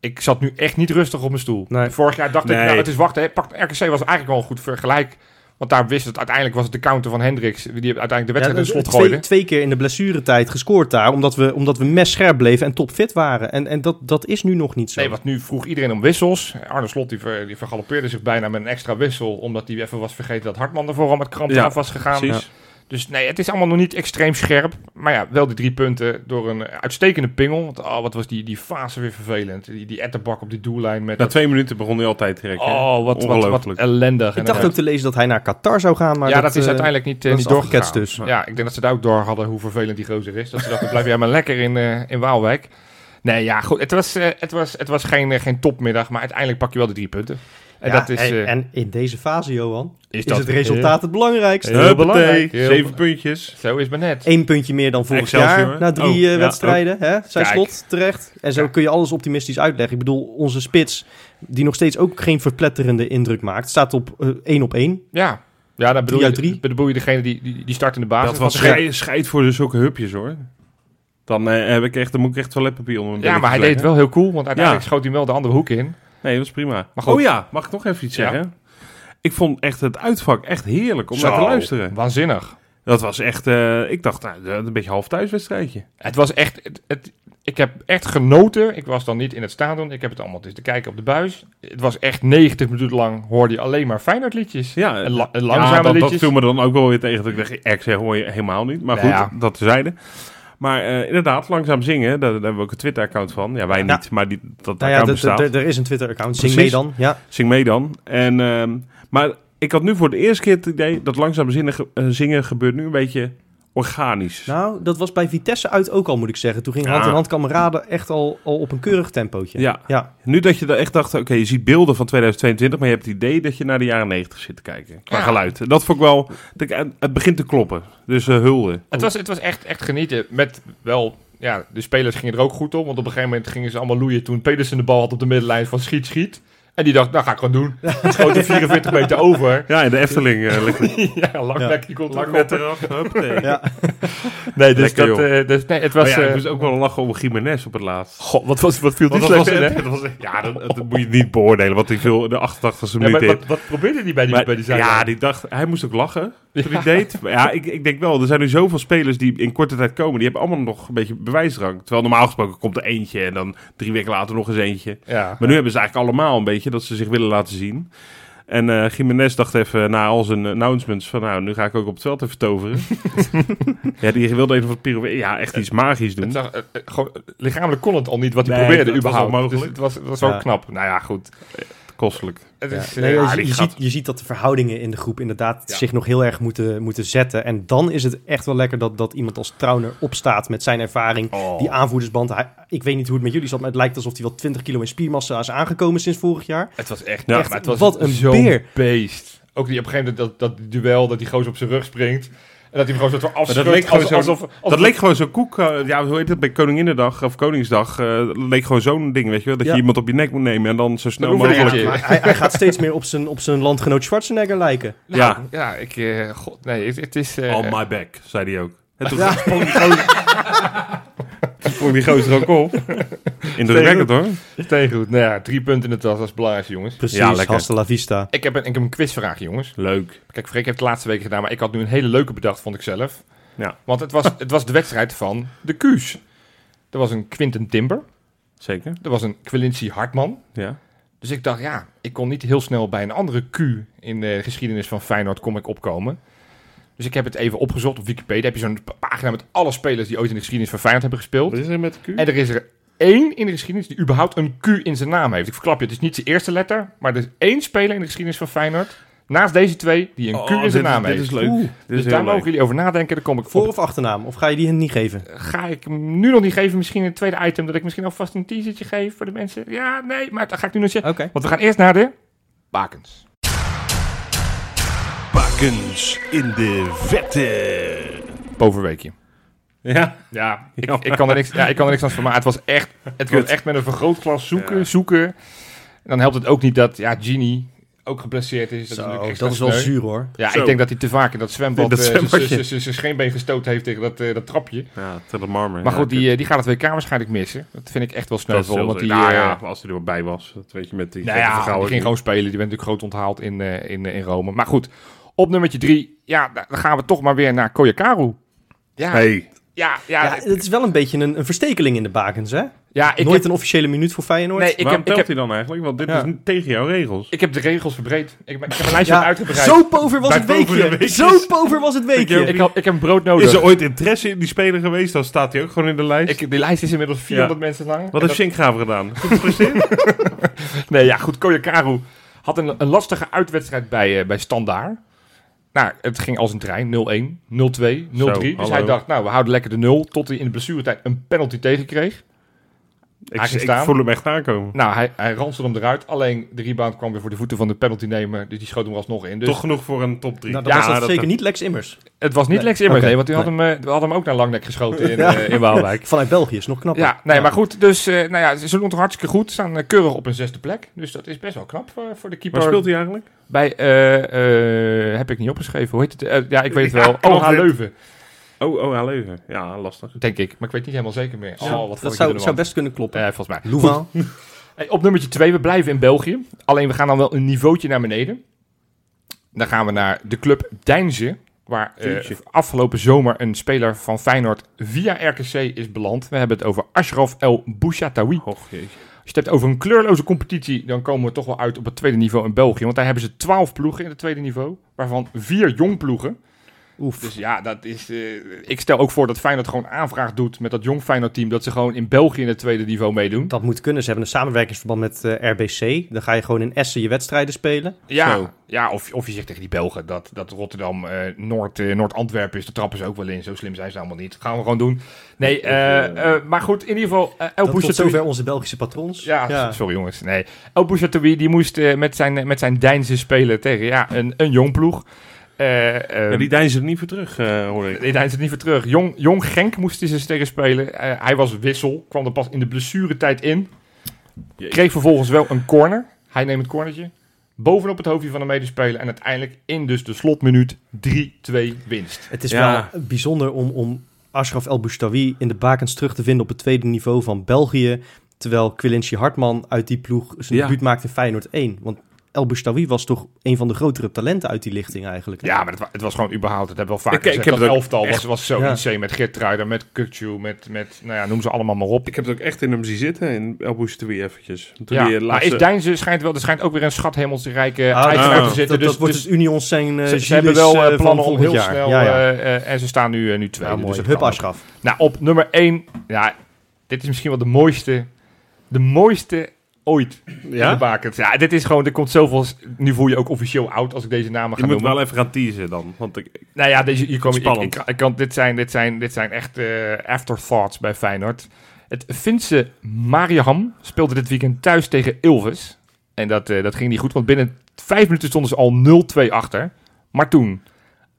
S1: Ik zat nu echt niet rustig op mijn stoel.
S2: Nee.
S1: Vorig jaar dacht ik,
S3: Nee.
S1: nou het is wachten. hè. Pak, RKC was eigenlijk wel een goed vergelijk. Want daar wist het, uiteindelijk was het de counter van Hendricks. Die uiteindelijk de wedstrijd
S2: Ja,
S1: in het slot
S2: twee,
S1: gooide.
S2: twee keer in de blessuretijd gescoord daar, omdat we, omdat we mes scherp bleven en topfit waren. En, en dat, dat is nu nog niet zo.
S1: Nee, want nu vroeg iedereen om wissels. Arne Slot die, ver, die vergalopeerde zich bijna met een extra wissel. Omdat hij even was vergeten dat Hartman ervoor al met kramp
S3: Ja,
S1: af was gegaan.
S3: Precies.
S1: Dus nee, het is allemaal nog niet extreem scherp. Maar ja, wel die drie punten door een uitstekende pingel. Want oh, wat was die, die fase weer vervelend. Die, die etterbak op die doellijn met...
S3: Na twee minuten begon hij altijd direct. hè?
S1: oh, wat, wat, wat
S3: Ongelooflijk.
S1: ellendig.
S2: ik dacht ook te lezen dat hij naar Qatar zou gaan, maar
S1: ja, dat, is
S2: eh,
S1: uiteindelijk niet, eh,
S2: dat
S1: niet
S2: is afgeketst
S1: doorgegaan.
S2: dus.
S1: Ja, ik denk dat ze daar ook door hadden hoe vervelend die gozer is. Dat ze dachten, blijf jij maar lekker in, eh, in Waalwijk. Nee, ja, goed. Het was, eh, het was, het was geen, eh, geen topmiddag, maar uiteindelijk pak je wel de drie punten. En
S2: Ja,
S1: dat is,
S2: en,
S1: eh,
S2: en in deze fase, Johan,
S1: is,
S2: is, eh,
S1: dat
S2: het resultaat het belangrijkste.
S1: Heel
S3: Huppatee,
S1: belangrijk, heel
S3: Zeven puntjes.
S1: Zo is maar net.
S2: Eén puntje meer dan vorig
S3: Excelsior.
S2: jaar na drie
S3: Oh,
S2: eh,
S3: ja,
S2: wedstrijden. Hè? Zijn
S1: Kijk.
S2: slot terecht. En zo
S1: Ja.
S2: kun je alles optimistisch uitleggen. Ik bedoel, onze spits, die nog steeds ook geen verpletterende indruk maakt, staat op eh, één op één.
S1: Ja, ja dan bedoel
S2: Drie
S1: je,
S2: uit drie.
S1: dan bedoel je degene die, die, die start in de basis.
S3: Dat was
S1: Want-
S3: schei- scheid voor dus ook hupjes hoor. Dan, eh, heb ik echt, dan moet ik echt toiletpapier onder mijn
S1: Ja, maar hij deed het wel heel cool, want uiteindelijk
S3: Ja.
S1: schoot hij hem wel de andere hoek in.
S3: Nee, dat was prima.
S1: Maar goed.
S3: Oh ja, mag ik nog even iets
S1: Ja.
S3: zeggen? Ik vond echt het uitvak echt heerlijk om
S1: Zo,
S3: naar te luisteren.
S1: Waanzinnig.
S3: Dat was echt, eh, ik dacht, nou, een beetje half thuiswedstrijdje.
S1: Het was echt... Het, het- ik heb echt genoten. Ik was dan niet in het stadion. Ik heb het allemaal dus te kijken op de buis. Het was echt 90 minuten lang hoorde je alleen maar Feyenoord liedjes.
S3: Ja,
S1: En la- en langzame
S3: ja, dat, dat
S1: liedjes.
S3: viel me dan ook wel weer tegen. Dat ik dacht, ex hoor je helemaal niet. Maar
S1: Nou
S3: goed,
S1: ja.
S3: dat zeiden. Maar eh, inderdaad, langzaam zingen. Daar, daar hebben we ook een Twitter-account van. Ja, wij
S2: Ja.
S3: niet, maar die, dat
S2: Nou ja,
S3: account
S2: d- d-
S3: bestaat.
S2: d- er is een Twitter-account. Zing mee
S3: Precies.
S2: dan. Ja.
S3: Zing mee dan. En, ehm, maar ik had nu voor de eerste keer het idee dat langzaam zingen, eh, zingen gebeurt nu een beetje organisch.
S2: Nou, dat was bij Vitesse uit ook al, moet ik zeggen. Toen ging
S3: Ja.
S2: hand in hand kameraden echt al, al op een keurig tempootje.
S3: ja.
S2: Ja.
S3: Nu dat je daar echt dacht, oké, je ziet beelden van 2022, maar je hebt het idee dat je naar de jaren 90 zit te kijken. Qua
S1: Ja.
S3: geluid. En Dat vond ik wel, dat ik- eh, het begint te kloppen. Dus eh, hulde.
S1: Het was, het was echt, echt genieten. Met wel, ja, de spelers gingen er ook goed op. Want op een gegeven moment gingen ze allemaal loeien toen Pedersen de bal had op de middenlijn van schiet, schiet. En die dacht, nou ga ik gewoon doen. Het schoot er 44 meter over.
S3: Ja, en de Efteling eh, ligt
S1: ja, lang
S2: Ja.
S1: die komt lang
S3: net
S1: op.
S3: eraf. Huppatee.
S2: Ja.
S1: Nee, dus,
S3: Lekker,
S1: dat, eh, dus nee, het was...
S3: Maar Oh ja, ik
S1: eh,
S3: moest ook wel lachen om Jiménez op het laatst.
S1: goh, wat, was, wat viel die
S3: Want
S1: slecht in,
S3: was,
S1: hè?
S3: het- het was, ja, dat, dat moet je niet beoordelen, want ik viel de 88ste
S1: Ja,
S3: minuut
S1: maar
S3: in.
S1: wat, wat probeerde die bij die,
S3: Maar-
S1: bij die zijlijn?
S3: ja, die dacht, hij moest ook lachen toen hij deed. Maar Ja, ik, ik denk wel, er zijn nu zoveel spelers die in korte tijd komen, die hebben allemaal nog een beetje bewijsdrang. Terwijl normaal gesproken komt er eentje en dan drie weken later nog eens eentje.
S1: Ja.
S3: Maar nu hebben ze eigenlijk allemaal een beetje dat ze zich willen laten zien. En eh Jiménez dacht even na al zijn announcements van nou, nu ga ik ook op het veld even toveren. ja, die wilde even wat pirouette, ja, echt iets magisch doen.
S1: Het zag, eh, eh, gewoon, eh, lichamelijk kon het al niet wat hij
S3: Nee,
S1: probeerde
S3: dat was
S1: überhaupt.
S3: onmogelijk.
S1: Dus het was, het was
S2: Ja.
S1: wel knap. Nou ja, goed.
S3: Kostelijk.
S1: Het
S2: Ja.
S1: is, eh,
S2: Nee,
S1: ja,
S2: je,
S1: die
S2: je
S1: gat-
S2: ziet, je ziet dat de verhoudingen in de groep inderdaad
S1: Ja.
S2: zich nog heel erg moeten, moeten zetten. En dan is het echt wel lekker dat, dat iemand als Trauner opstaat met zijn ervaring. Die aanvoerdersband, hij- ik weet niet hoe het met jullie zat, maar het lijkt alsof hij wel 20 kilo in spiermassa is aangekomen sinds vorig jaar.
S1: Het was echt,
S3: Ja,
S1: echt
S2: maar
S1: het was
S2: wat een
S1: zo'n
S2: beer.
S1: beest. Ook die op een gegeven moment dat, dat duel, dat die gozer op zijn rug springt. En dat hij hem gewoon zo
S3: Maar
S1: afschudt.
S3: dat leek gewoon
S1: als-
S3: zo'n-
S1: alsof, alsof-
S3: dat leek gewoon zo'n koek. eh, ja, hoe heet dat bij Koninginnedag of Koningsdag? eh, dat leek gewoon zo'n ding, weet je wel? Dat
S2: Ja.
S3: je iemand op je nek moet nemen en dan zo snel
S1: Een
S3: mogelijk.
S1: oefeningetje.
S2: Maar hij, hij gaat steeds meer op zijn, op zijn landgenoot Schwarzenegger lijken.
S1: Nou,
S3: ja. Oh,
S1: Ja, ik... eh, God, nee, het, het is... eh,
S3: On my back, zei hij ook. En toen
S2: Ja.
S3: sprong die gozer- toen sprong die gozer ook op. Indrukwekkend hoor.
S1: Steengoed. Nou ja, drie punten in het tas, dat is het belangrijkste, jongens.
S2: Precies,
S3: Ja, lekker.
S2: hasta la vista.
S1: Ik heb, een, ik heb een quizvraag, jongens.
S3: Leuk.
S1: Kijk, Freek heeft het de laatste weken gedaan, maar ik had nu een hele leuke bedacht, vond ik zelf.
S3: Ja.
S1: Want het was, het was de wedstrijd van de Q's. Er was een Quinten Timber,
S3: Zeker.
S1: er was een Quilincy Hartman.
S3: Ja.
S1: Dus ik dacht, ja, ik kon niet heel snel bij een andere Q in de geschiedenis van Feyenoord kom ik opkomen. Dus ik heb het even opgezocht op Wikipedia. Heb je zo'n pa- pagina met alle spelers die ooit in de geschiedenis van Feyenoord hebben gespeeld.
S3: is er met Q?
S1: En er is er één in de geschiedenis die überhaupt een Q in zijn naam heeft. Ik verklap je, het is niet zijn eerste letter, maar er is één speler in de geschiedenis van Feyenoord, naast deze twee, die een Q in zijn naam
S3: Oh, Dit
S1: heeft.
S3: is leuk.
S2: Oeh,
S3: dit is
S1: dus
S3: heel
S1: daar
S3: leuk.
S1: mogen jullie over nadenken. Daar kom ik
S2: Voor
S1: op.
S2: of achternaam? Of ga je die hem niet geven?
S1: Ga ik hem nu nog niet geven. Misschien een tweede item. Dat ik misschien alvast een teasertje geef voor de mensen. Ja, nee, maar dat ga ik nu nog zeggen.
S2: Oké.
S1: Want we gaan eerst naar de bakens.
S3: Bakens in de vette.
S1: Bovenweekje.
S3: Ja.
S1: Ja, ik,
S3: Ja.
S1: ik, kan er niks, ja, ik kan er niks aan van maken. Het was echt, het was
S3: Kut.
S1: echt met een vergrootglas zoeken,
S3: Ja.
S1: zoeken. En dan helpt het ook niet dat ja, Genie ook geblesseerd is. is natuurlijk
S2: Zo,
S1: extra
S2: dat is wel
S1: sneu.
S2: zuur hoor.
S1: Ja,
S3: Zo.
S1: ik denk dat hij te vaak in dat zwembad
S3: In dat
S1: eh, z-
S3: zwembadje.
S1: z- z- zijn scheenbeen gestoten heeft tegen dat, eh, dat trapje.
S3: Ja, Tele Marmer.
S1: Maar
S3: Ja,
S1: goed,
S3: kut.
S1: die, eh, die gaat het WK waarschijnlijk missen. Dat vind ik echt wel sneu
S3: Dat is
S1: voor,
S3: heel
S1: want
S3: zeker.
S1: die,
S3: Nou
S1: eh,
S3: ja, als hij er wel bij was. Dat weet je met die
S1: nou
S3: gekke
S1: ja, die
S3: vergouwen
S1: ging gewoon spelen. Die werd natuurlijk groot onthaald in, eh, in, eh, in Rome. Maar goed, Op nummertje drie, ja, da- dan gaan we toch maar weer naar Koyakaru. Ja,
S3: Hey.
S1: ja, ja,
S2: Ja, het is wel een beetje een, een verstekeling in de bakens, hè?
S1: ja, ik
S2: Nooit
S1: heb,
S2: een officiële minuut voor Feyenoord.
S1: nee, ik
S3: Waarom
S1: heb, ik
S3: telt
S1: heb,
S3: hij dan eigenlijk? Want dit
S1: Ja.
S3: is niet tegen jouw regels.
S1: ik heb de regels verbreed. Ik, heb- ik heb een lijstje
S2: Ja,
S1: uitgebreid.
S2: zo pover was
S3: Bij
S2: het
S3: pover de
S2: weekje.
S3: weekjes.
S2: Zo pover was het weekje.
S1: Ik, had- ik heb een brood
S3: Is
S1: nodig.
S3: er ooit interesse in die speler geweest? Dan staat hij ook gewoon in de lijst.
S1: Ik, die lijst is inmiddels 400 mensen lang.
S3: Wat
S1: En
S3: heeft Sinkgraven gedaan? Goed gepresteerd?
S1: Nee, ja, goed. Koyakaru had een, een lastige uitwedstrijd bij, eh, bij Standaar. Nou, het ging als een trein. 0-1, 0-2, 0-3.
S3: Zo,
S1: dus
S3: hallo.
S1: hij dacht, nou, we houden lekker de 0. Tot hij in de blessuretijd een penalty tegenkreeg.
S3: ik,
S1: Hij ging
S3: ik
S1: staan.
S3: voel hem echt aankomen.
S1: Nou, hij, hij ranste hem eruit. Alleen de rebound kwam weer voor de voeten van de penaltynemer. Dus die schoot hem er alsnog in. Dus
S3: Toch genoeg voor een top 3.
S2: Nou, dan was dat zeker niet Lex Immers.
S1: het was niet
S2: Nee,
S1: Lex Immers,
S2: oké.
S1: nee. Want die had hem, eh, we hadden hem ook naar Langnek geschoten in, eh, in Waalwijk.
S2: Vanuit België is nog knapper.
S1: Ja, nee, maar goed. Dus, eh, nou ja, ze ze doen het hartstikke goed. Staan eh, keurig op een zesde plek. Dus dat is best wel knap voor, voor de keeper.
S3: Waar speelt hij eigenlijk?
S1: Bij, eh, eh, heb ik niet opgeschreven, hoe heet het? Eh, ja, ik weet het
S3: Ja,
S1: wel.
S3: klopt.
S1: OH Leuven,
S3: Oh, oh, hij Leuven. Ja, lastig.
S1: denk ik. Maar ik weet niet helemaal zeker meer. Oh,
S2: Ja,
S1: wat vond
S2: dat
S1: ik
S2: zou,
S1: er
S2: zou
S1: nou
S2: best kunnen kloppen.
S1: aan? Eh, volgens mij. Goed.
S2: Loeval.
S1: Hey, op nummertje 2, we blijven in België. Alleen we gaan dan wel een niveautje naar beneden. Dan gaan we naar de club Deinze. Waar eh,
S3: Jeetje.
S1: afgelopen zomer een speler van Feyenoord via RKC is beland. We hebben het over Ashraf El Bouchatawi.
S3: Och, jeetje.
S1: Als je het hebt over een kleurloze competitie, dan komen we toch wel uit op het tweede niveau in België. Want daar hebben ze twaalf ploegen in het tweede niveau, waarvan vier jong ploegen.
S2: Oef.
S1: Dus ja, dat is, eh, ik stel ook voor dat Feyenoord gewoon aanvraag doet met dat jong Feyenoord-team, dat ze gewoon in België in het tweede niveau meedoen.
S2: Dat moet kunnen. Ze hebben een samenwerkingsverband met eh, RBC. Dan ga je gewoon in Essen je wedstrijden spelen.
S1: Ja,
S3: Zo.
S1: ja of, of je zegt tegen die Belgen dat, dat Rotterdam eh, Noord, eh, Noord-Antwerpen is, daar trappen ze ook wel in. Zo slim zijn ze allemaal niet. gaan we gewoon doen. Nee, eh, eh, maar goed, in ieder geval, eh, El
S2: Dat tot
S1: Bouchatoui-
S2: zover onze Belgische patrons.
S1: Ja, s- sorry jongens. Nee. El Bouchatoui, die moest eh, met zijn, met zijn Deinse spelen tegen ja, een, een jong ploeg. Eh, eh,
S3: Ja, die
S1: die
S3: deinzen er niet voor terug, eh, hoor ik.
S1: Deinze het niet voor terug. Jong, jong Genk moest hij ze tegen spelen. Eh, hij was wissel, kwam er pas in de blessuretijd in.
S3: Jeetje.
S1: Kreeg vervolgens wel een corner. Hij neemt het cornertje. Bovenop het hoofdje van de medespeler. En uiteindelijk in dus de slotminuut 3-2 winst.
S2: Het is
S3: Ja.
S2: wel bijzonder om, om Ashraf El Boustawi in de bakens terug te vinden op het tweede niveau van België. Terwijl Quilinci Hartman uit die ploeg zijn
S3: Ja.
S2: debuut maakte in Feyenoord 1. Want El Boustawi was toch een van de grotere talenten uit die lichting eigenlijk.
S1: Ja, maar het, wa- het was gewoon überhaupt. Het hebben we al vaak
S3: Ik- ik
S1: gezegd.
S3: heb
S1: dat
S3: het ook
S1: elftal was,
S3: echt-
S1: was zo
S2: Ja.
S1: insane. Met Geert met Kukcu, met, met, nou ja, noem ze allemaal maar op.
S3: Ik heb het ook echt in hem zien zitten, in El Bouchatoui eventjes. Toen
S1: Ja,
S3: die eh,
S1: maar
S3: laatste...
S1: is Deinze schijnt wel, er schijnt ook weer een schat hemelsrijke
S2: Ah,
S1: eigenaar
S3: nou,
S1: te zitten.
S2: dat,
S1: Dus,
S2: dat wordt
S1: dus
S2: dus Unions zijn eh
S1: ze,
S2: Gilles,
S1: ze hebben wel
S2: eh,
S1: eh,
S2: van
S1: plannen om
S2: volgend
S1: heel
S2: jaar.
S1: snel
S2: Ja, ja.
S1: eh, eh, en ze staan nu, eh, nu tweede.
S2: Ja, mooi.
S1: dus dat
S2: Hup
S1: kan ook.
S2: Ashraf.
S1: Nou, op nummer 1. Ja, dit is misschien wel de mooiste. De mooiste ooit in de
S3: Ja?
S1: bakens. Ja, dit is gewoon, er komt zoveel... Nu voel je ook officieel oud als ik deze namen
S3: Je
S1: ga
S3: moet
S1: noemen.
S3: wel even gaan teasen dan. Want ik,
S1: Nou ja, deze, hier komen, ik,
S3: Spannend.
S1: ik, ik kan, dit, zijn, dit, zijn, dit zijn echt eh, afterthoughts bij Feyenoord. Het Finse Mariaham speelde dit weekend thuis tegen Ilves. En dat, eh, dat ging niet goed, want binnen vijf minuten stonden ze al 0-2 achter. Maar toen,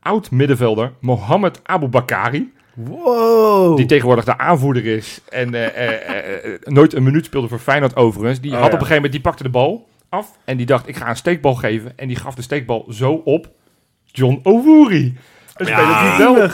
S1: oud-middenvelder Mohamed Aboubakari,
S2: Wow.
S1: die tegenwoordig de aanvoerder is en eh, eh, eh, eh, nooit een minuut speelde voor Feyenoord overigens, die
S3: Oh,
S1: had op
S3: ja.
S1: een gegeven moment, die pakte de bal af en die dacht, ik ga een steekbal geven. En die gaf de steekbal zo op John Owuri. Een
S3: Ja.
S1: speler die wel...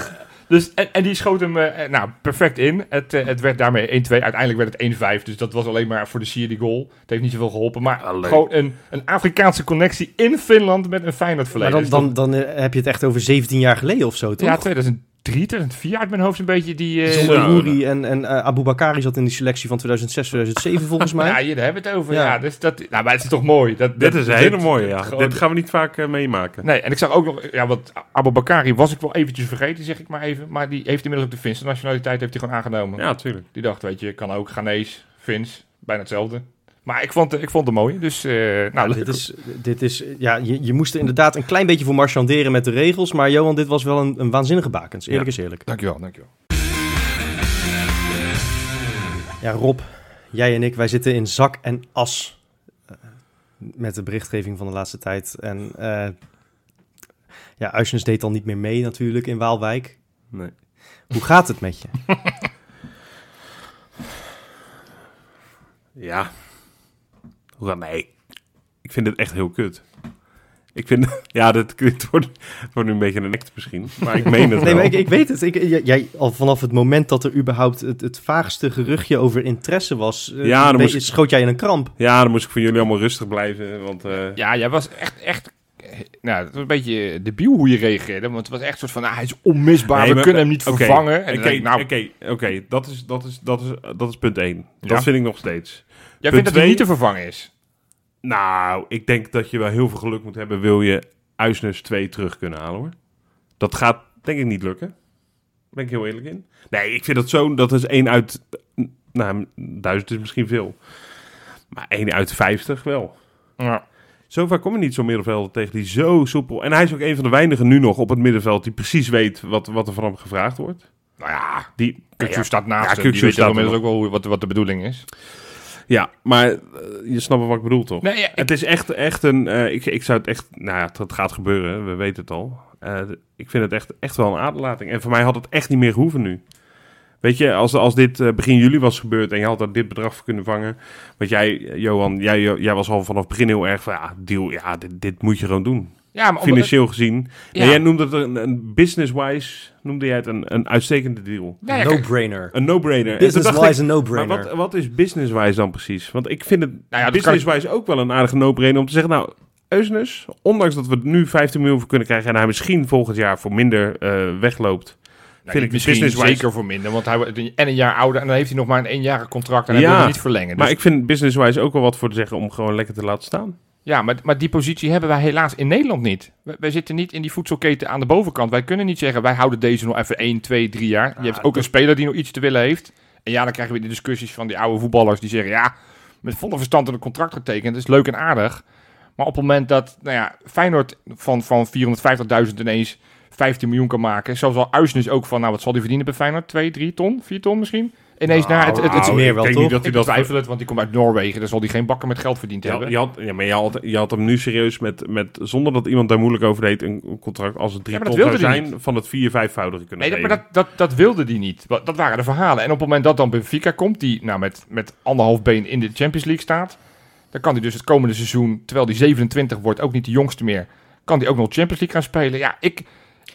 S1: Dus, en, en die schoot hem eh, eh, nou, perfect in. Het, eh, het werd daarmee 1-2. Uiteindelijk werd het 1-5. Dus dat was alleen maar voor de sier die goal. Het heeft niet zoveel geholpen. Maar
S3: Ah, leuk.
S1: gewoon een, een Afrikaanse connectie in Finland met een Feyenoord
S2: maar
S1: verleden. Dus
S2: dan, dan, dan eh, heb je het echt over 17 jaar geleden of zo, toch?
S1: ja, 2003, 2004 uit mijn hoofd een beetje die... eh,
S2: Zonder
S3: Zo.
S2: Nouri en, en eh, Abu Bakari zat in die selectie van 2006, 2007 volgens mij.
S1: Ja, hier daar hebben we het over. Ja.
S2: Ja.
S1: dus dat, nou, maar het is toch mooi. Dat,
S3: dit
S1: dat-
S3: is een hele mooie,
S1: dat-
S3: ja.
S1: gewoon-
S3: Dit gaan we niet vaak eh, meemaken.
S1: nee, en ik zag ook nog, ja, want Abu Bakari was ik wel eventjes vergeten, zeg ik maar even. Maar die heeft inmiddels ook de Finse nationaliteit heeft hij gewoon aangenomen.
S3: Ja, tuurlijk.
S1: Die dacht, weet je, kan ook Ghanese, Fins, bijna hetzelfde. Maar ik vond, ik vond het mooi. Dus, eh, nou,
S2: Ja,
S1: leuk.
S2: dit is, dit is, ja, je, je moest er inderdaad een klein beetje voor marchanderen met de regels. Maar Johan, dit was wel een, een waanzinnige bakens. Eerlijk is eerlijk.
S1: Dankjewel, dankjewel.
S2: Ja, Rob, jij en ik, wij zitten in zak en as. eh, Met de berichtgeving van de laatste tijd. En eh ja, Uisnes deed al niet meer mee natuurlijk in Waalwijk.
S3: Nee.
S2: Hoe gaat het met je?
S3: Ja. Hoe gaat Nee. Ik vind dit echt heel kut. Ik vind... Ja, dit, dit wordt, wordt nu een beetje een act misschien. Maar ik meen het
S2: Nee,
S3: wel.
S2: maar ik, ik weet het. Ik, j- jij, al vanaf het moment dat er überhaupt het, het vaagste geruchtje over interesse was, eh,
S3: Ja, dan
S2: weet
S3: moest
S2: je, schoot jij in een kramp.
S3: Ja, dan moest ik voor jullie allemaal rustig blijven. Want eh,
S1: Ja, jij was echt, echt nou, het was een beetje debiel hoe je reageerde. Want het was echt een soort van, ah, hij is onmisbaar,
S3: Nee,
S1: we
S3: maar-
S1: kunnen hem niet
S3: Oké,
S1: vervangen. En dan
S3: Oké,
S1: denk ik, nou,
S3: oké, oké, dat is- dat is- dat is- dat is punt 1.
S1: Ja.
S3: Dat vind ik nog steeds.
S1: jij vindt dat hij
S3: twee-
S1: niet te vervangen is?
S3: Nou, ik denk dat je wel heel veel geluk moet hebben... wil je Uisnes 2 terug kunnen halen, hoor. Dat gaat denk ik niet lukken. Ben ik heel eerlijk in. Nee, ik vind dat zo... Dat is 1 uit... Nou, duizend is misschien veel. Maar 1 uit 50 wel.
S1: Ja.
S3: Zo vaak kom je niet zo'n middenveld tegen die zo soepel... En hij is ook een van de weinigen nu nog op het middenveld... die precies weet wat, wat er van hem gevraagd wordt.
S1: Nou ja,
S3: Die,
S1: Kukju
S3: ja,
S1: staat naast
S3: Ja,
S1: hem. Die
S3: Kukju
S1: weet
S3: staat er
S1: inmiddels ook wel hoe- wat, wat de bedoeling is.
S3: Ja, maar eh, je snapt wat ik bedoel toch?
S1: Nee, ja, ik-
S3: Het is echt, echt een. eh, ik, ik zou het echt. Nou ja, het, het gaat gebeuren, we weten het al. Eh, ik vind het echt, echt wel een aderlating. En voor mij had het echt niet meer gehoeven nu. Weet je, als, als dit eh, begin juli was gebeurd en je had daar dit bedrag voor kunnen vangen. Want jij, eh, Johan, jij, jij was al vanaf het begin heel erg van ja, deal, ja, dit, dit moet je gewoon doen.
S1: ja, maar omdat-
S3: Financieel gezien.
S1: Ja.
S3: En jij noemde het een, een business-wise, noemde jij het een, een uitstekende deal.
S1: Nou ja, kijk,
S2: no-brainer.
S3: Een no-brainer. En toen dacht ik-
S2: Business-wise een
S3: maar
S2: no-brainer.
S3: wat, wat is businesswise dan precies? Want ik vind het
S1: Nou ja, dat
S3: businesswise ook wel een aardige no-brainer om te zeggen... Nou, Eusnes, ondanks dat we er nu 15 miljoen voor kunnen krijgen... en hij misschien volgend jaar voor minder eh, wegloopt...
S1: Nou,
S3: vind ik
S1: misschien
S3: business-wise...
S1: zeker voor minder, want hij wordt en een jaar ouder en dan heeft hij nog maar een eenjarig contract en hij
S3: Ja,
S1: wil hem niet verlengen. Dus,
S3: Maar ik vind businesswise ook wel wat voor te zeggen om gewoon lekker te laten staan.
S1: ja, maar, maar die positie hebben wij helaas in Nederland niet. Wij, wij zitten niet in die voedselketen aan de bovenkant. Wij kunnen niet zeggen, wij houden deze nog even 1, 2, 3 jaar. Je hebt ook een speler die nog iets te willen heeft. En ja, dan krijgen we die discussies van die oude voetballers die zeggen, ja, met volle verstand een contract getekend, dat is leuk en aardig. Maar op het moment dat, nou ja, Feyenoord van, van 450.000 ineens 15 miljoen kan maken. Zelfs al Uisnes ook van, nou, wat zal die verdienen bij Feyenoord? 2, 3 ton, 4 ton misschien? Ineens naar het, het, het,
S2: nou, meer wel,
S3: ik denk
S2: toch?
S3: Niet dat hij
S1: ik
S3: dat
S1: betwijfel het, want die komt uit Noorwegen. Daar zal die geen bakken met geld verdiend
S3: Ja,
S1: hebben.
S3: je had, ja, maar je had, je had hem nu serieus met, met, zonder dat iemand daar moeilijk over deed, een een contract als het drie
S1: Ja, maar
S3: ton
S1: dat
S3: zou
S1: wilde hij
S3: zijn van het vier, vijfvoudige kunnen
S1: Nee, dat, maar
S3: geven.
S1: dat, dat, dat wilde die niet. Wa- Dat waren de verhalen. En op het moment dat dan Benfica komt, die nou, met, met anderhalf been in de Champions League staat... dan kan hij dus het komende seizoen, terwijl hij 27 wordt, ook niet de jongste meer... kan hij ook nog Champions League gaan spelen. Ja, ik...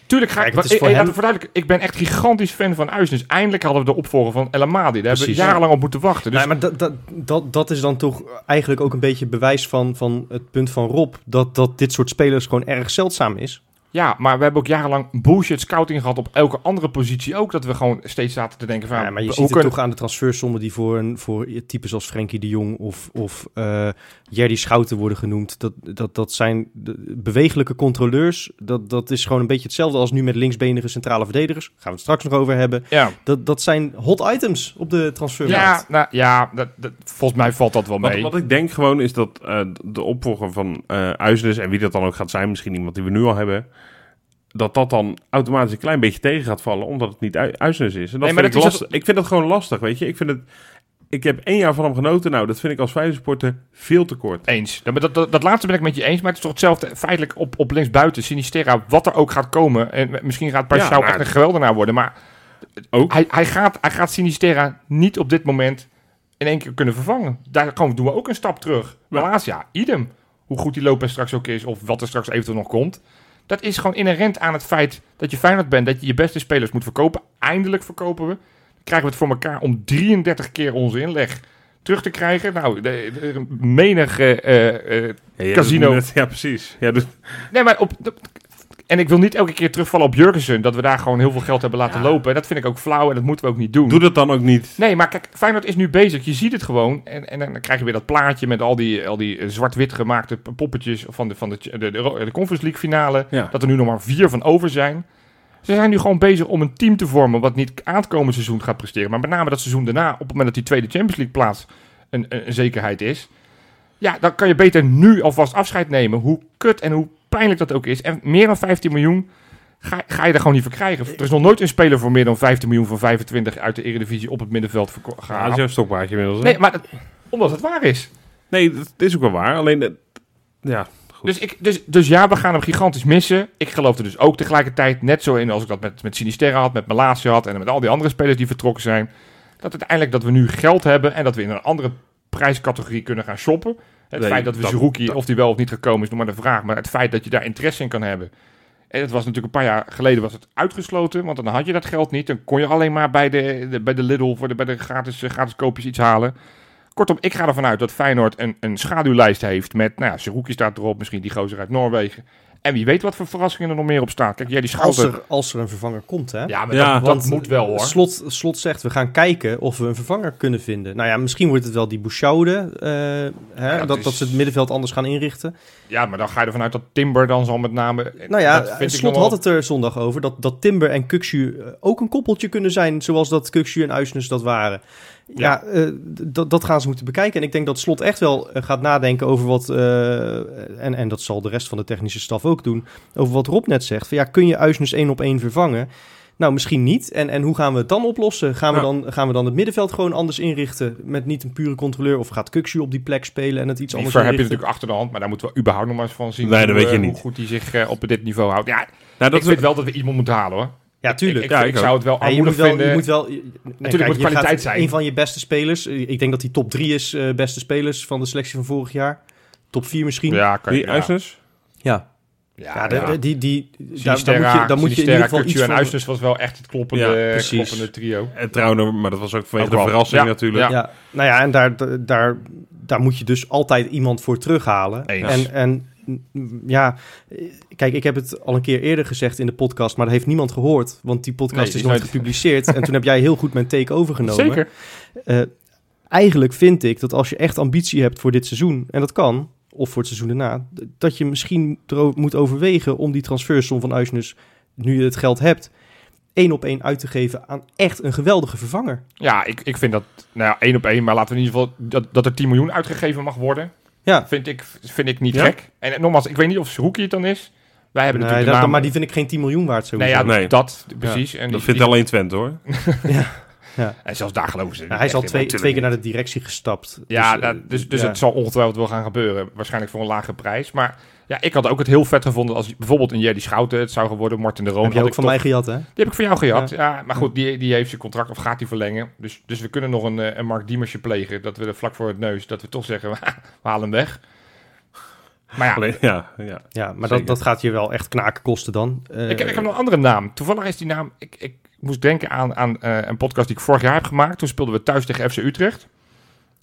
S1: Tuurlijk ga
S2: Kijk,
S1: ik...
S2: het
S1: wa-
S2: is voor
S1: Ik, ik, laat
S2: hem-
S1: het verduidelijken, ik ben echt gigantisch fan van Uisnes. Eindelijk hadden we de opvolger van El Amadi. Daar hebben we
S2: Precies.
S1: jarenlang op moeten wachten. Dus
S2: Nee, maar dat, dat, dat, dat is dan toch eigenlijk ook een beetje bewijs van, van het punt van Rob... Dat, dat dit soort spelers gewoon erg zeldzaam is.
S1: Ja, maar we hebben ook jarenlang bullshit scouting gehad op elke andere positie ook. Dat we gewoon steeds zaten te denken van...
S2: Ja, maar je
S1: hoe
S2: ziet het
S1: kunnen-
S2: toch aan de transfersommen die voor, een, voor types als Frenkie de Jong of, of eh Jerry Schouten worden genoemd. Dat, dat, dat zijn de- bewegelijke controleurs. Dat, dat is gewoon een beetje hetzelfde als nu met linksbenige centrale verdedigers. Gaan we het straks nog over hebben.
S1: Ja,
S2: Dat, dat zijn hot items op de
S1: ja,
S2: transfermarkt.
S1: nou, ja dat, dat- volgens mij valt dat wel mee.
S3: Wat, wat ik denk gewoon is dat eh, de opvolger van eh Uisnes, en wie dat dan ook gaat zijn, misschien iemand die we nu al hebben, dat dat dan automatisch een klein beetje tegen gaat vallen, omdat het niet Ui- Uisnes is. En dat
S1: Nee, maar
S3: vind
S1: dat
S3: ik,
S1: is dus-
S3: lastig. ik vind dat gewoon lastig, weet je. Ik, vind het, ik heb één jaar van hem genoten, nou, dat vind ik als Feyenoord-supporter veel te kort.
S1: Eens. Dat, dat, dat, dat laatste ben ik met je eens, maar het is toch hetzelfde feitelijk op, op linksbuiten. Sinisterra, wat er ook gaat komen. En eh, misschien gaat Paschal
S3: Ja, maar-
S1: echt een geweldenaar worden, maar
S3: Ook.
S1: hij, hij, gaat, hij gaat Sinisterra niet op dit moment in één keer kunnen vervangen. Daar gewoon doen we ook een stap terug.
S3: Ja.
S1: Helaas, ja, idem. Hoe goed die Lopez straks ook is, of wat er straks eventueel nog komt. Dat is gewoon inherent aan het feit dat je Feyenoord bent, dat je je beste spelers moet verkopen. Eindelijk verkopen we. Dan krijgen we het voor elkaar om 33 keer onze inleg terug te krijgen. Nou, de, de- menig eh, eh, eh,
S3: Ja,
S1: Casino.
S3: dus- ja, precies. Ja, dus,
S1: Nee, maar op. de- en ik wil niet elke keer terugvallen op Jurgensen. Dat we daar gewoon heel veel geld hebben laten lopen. En dat vind ik ook flauw en dat moeten we ook niet doen.
S3: doe dat dan ook niet.
S1: Nee, maar kijk, Feyenoord is nu bezig. Je ziet het gewoon. En, en dan krijg je weer dat plaatje met al die, al die eh, zwart-wit gemaakte p- poppetjes van de, van de, de, de, de Conference League finale.
S3: Ja.
S1: Dat er nu nog maar vier van over zijn. Ze zijn nu gewoon bezig om een team te vormen wat niet aankomend seizoen gaat presteren. Maar met name dat seizoen daarna, op het moment dat die tweede Champions League plaats een, een, een zekerheid is. Ja, dan kan je beter nu alvast afscheid nemen. Hoe kut en hoe pijnlijk dat ook is. En meer dan 15 miljoen ga, ga je er gewoon niet voor krijgen. Er is nog nooit een speler voor meer dan 15 miljoen van 25 uit de Eredivisie op het middenveld verko-
S3: Ja, dat
S1: gehaald.
S3: is jouw stokpaardje inmiddels. hè?
S1: Nee, maar dat- omdat het waar is.
S3: nee, dat is ook wel waar. Alleen, eh, ja, Goed.
S1: Dus, ik, dus, dus ja, we gaan hem gigantisch missen. Ik geloof er dus ook tegelijkertijd net zo in als ik dat met, met Sinisterra had, met Malasia had en met al die andere spelers die vertrokken zijn. Dat uiteindelijk dat we nu geld hebben en dat we in een andere prijscategorie kunnen gaan shoppen. Het
S3: Nee,
S1: feit dat we
S3: dat-
S1: Zerouki,
S3: dat-
S1: of die wel of niet gekomen is, nog maar de vraag. Maar het feit dat je daar interesse in kan hebben. En het was natuurlijk een paar jaar geleden was het uitgesloten, want dan had je dat geld niet. Dan kon je alleen maar bij de, de- bij de Lidl, voor de, bij de gratis, eh, gratis koopjes iets halen. Kortom, ik ga ervan uit dat Feyenoord een, een schaduwlijst heeft met, nou ja, Seruki staat erop, misschien die gozer uit Noorwegen. En wie weet wat voor verrassingen er nog meer op staan. Kijk, jij die
S2: Als
S1: schouder.
S2: er, als er een vervanger komt, hè?
S1: Ja, maar
S3: Ja,
S1: dat, dat
S2: want
S1: moet wel hoor.
S2: Slot, slot zegt, we gaan kijken of we een vervanger kunnen vinden. Nou ja, misschien wordt het wel die Bouchaude. eh, hè,
S1: Ja, dat
S2: dat,
S1: is-
S2: dat ze het middenveld anders gaan inrichten.
S1: Ja, maar dan ga je ervan uit dat Timber dan zal met name...
S2: Nou ja,
S1: dat vind ik
S2: Slot
S1: nog wel-
S2: had het er zondag over. Dat, dat Timber en Kuxu eh, ook een koppeltje kunnen zijn. Zoals dat Kuxu en Uisnes dat waren. Ja, eh, d- dat- dat gaan ze moeten bekijken. En ik denk dat Slot echt wel eh, gaat nadenken over wat... eh, en, en dat zal de rest van de technische staf ook doen. Over wat Rob net zegt. Van, ja, kun je Uisnes één op één vervangen? Nou, misschien niet. En, en hoe gaan we het dan oplossen? Gaan, we
S3: Ja.
S2: dan, gaan we dan het middenveld gewoon anders inrichten? Met niet een pure controleur? Of gaat Kuxu op die plek spelen en het iets anders
S1: Liever heb je
S2: inrichten?
S1: natuurlijk achter de hand, maar daar moeten we überhaupt nog maar eens van zien.
S3: Nee, dat
S1: hoe,
S3: weet
S1: eh,
S3: je
S1: hoe
S3: niet.
S1: goed hij zich eh, op dit niveau houdt. Ja,
S3: Nou, dat
S1: ik vind wel dat we iemand moeten halen hoor.
S2: Ja, tuurlijk.
S1: Ik, ik,
S3: Ja,
S1: ik
S3: ik ook.
S1: zou het wel
S2: Ja, je moet
S1: armoedig
S2: wel,
S1: vinden.
S2: je moet wel nee, kijk,
S1: moet
S2: je
S1: kwaliteit
S2: gaat-
S1: zijn.
S2: Een van je beste spelers. eh, Ik denk dat hij top 3 is, eh, beste spelers van de selectie van vorig jaar. Top 4 misschien. Ja,
S1: Ja, kan je-
S3: Die
S1: ja.
S3: Uisnes?
S2: ja.
S1: Ja,
S2: de-
S1: ja.
S2: de- die, die, daar, daar moet
S1: Sinisterra,
S2: je, daar moet je in ieder geval iets
S1: en
S2: van...
S1: Uisnes was wel echt het
S3: Ja,
S1: kloppende, eh,
S2: precies.
S1: kloppende trio.
S3: En trouwens, maar dat was ook vanwege
S1: Ook
S3: de
S1: wel.
S3: verrassing
S1: Ja,
S3: natuurlijk.
S1: ja.
S2: Ja, nou ja, en daar, daar, daar moet je dus altijd iemand voor terughalen.
S1: Eens.
S2: En, en mm, ja, eh, kijk, ik heb het al een keer eerder gezegd in de podcast, maar dat heeft niemand gehoord, want die podcast
S1: Nee,
S2: is
S1: die
S2: nooit
S1: is nooit-
S2: gepubliceerd. en toen heb jij heel goed mijn take overgenomen.
S1: Zeker.
S2: Eh, eigenlijk vind ik dat als je echt ambitie hebt voor dit seizoen, en dat kan, of voor het seizoen daarna, d- dat je misschien ero- moet overwegen om die transfersom van Uisnes, nu je het geld hebt, één op één uit te geven aan echt een geweldige vervanger.
S1: Ja, ik, ik vind dat nou ja, één op één, maar laten we in ieder geval dat, dat er 10 miljoen uitgegeven mag worden.
S2: Ja.
S1: Vind ik, vind ik niet
S3: Ja?
S1: gek. En eh, nogmaals, ik weet niet of Sroekie het dan is. Wij hebben
S2: Nee,
S1: natuurlijk
S2: dat-
S1: de naam.
S2: maar die vind ik geen 10 miljoen waard
S1: nee,
S2: sowieso.
S1: ja,
S3: Nee.
S1: dat precies. En,
S3: Dat
S1: die-
S3: vindt
S1: die-
S3: alleen Twente hoor.
S1: en zelfs daar geloven ze.
S2: Nou,
S1: niet
S2: hij is al
S1: echt in,
S2: twee,
S1: maar
S2: twee keer naar de directie gestapt.
S1: Ja,
S2: eh,
S1: dat- dus, dus
S2: ja.
S1: het zal ongetwijfeld wel gaan gebeuren. Waarschijnlijk voor een lage prijs. Maar ja, ik had ook het heel vet gevonden als bijvoorbeeld een Jerry Schouten het zou geworden. Martin de Roon.
S2: heb je
S1: had
S2: ook
S1: ik
S2: van
S1: toch-
S2: mij gejat, hè?
S1: Die heb ik van jou gejat. Ja. maar goed, die, die heeft zijn contract of gaat die verlengen. Dus, dus we kunnen nog een, eh, een Mark Diemersje plegen. Dat we er vlak voor het neus, dat we toch zeggen, we halen hem weg. Maar ja,
S3: Alleen, ja, ja.
S2: Ja, maar dat,
S3: Zeker.
S2: dat gaat je wel echt knaken kosten dan. Eh,
S1: ik, heb- ik heb nog een andere naam. Toevallig is die naam... Ik, ik moest denken aan, aan eh, een podcast die ik vorig jaar heb gemaakt. Toen speelden we thuis tegen FC Utrecht.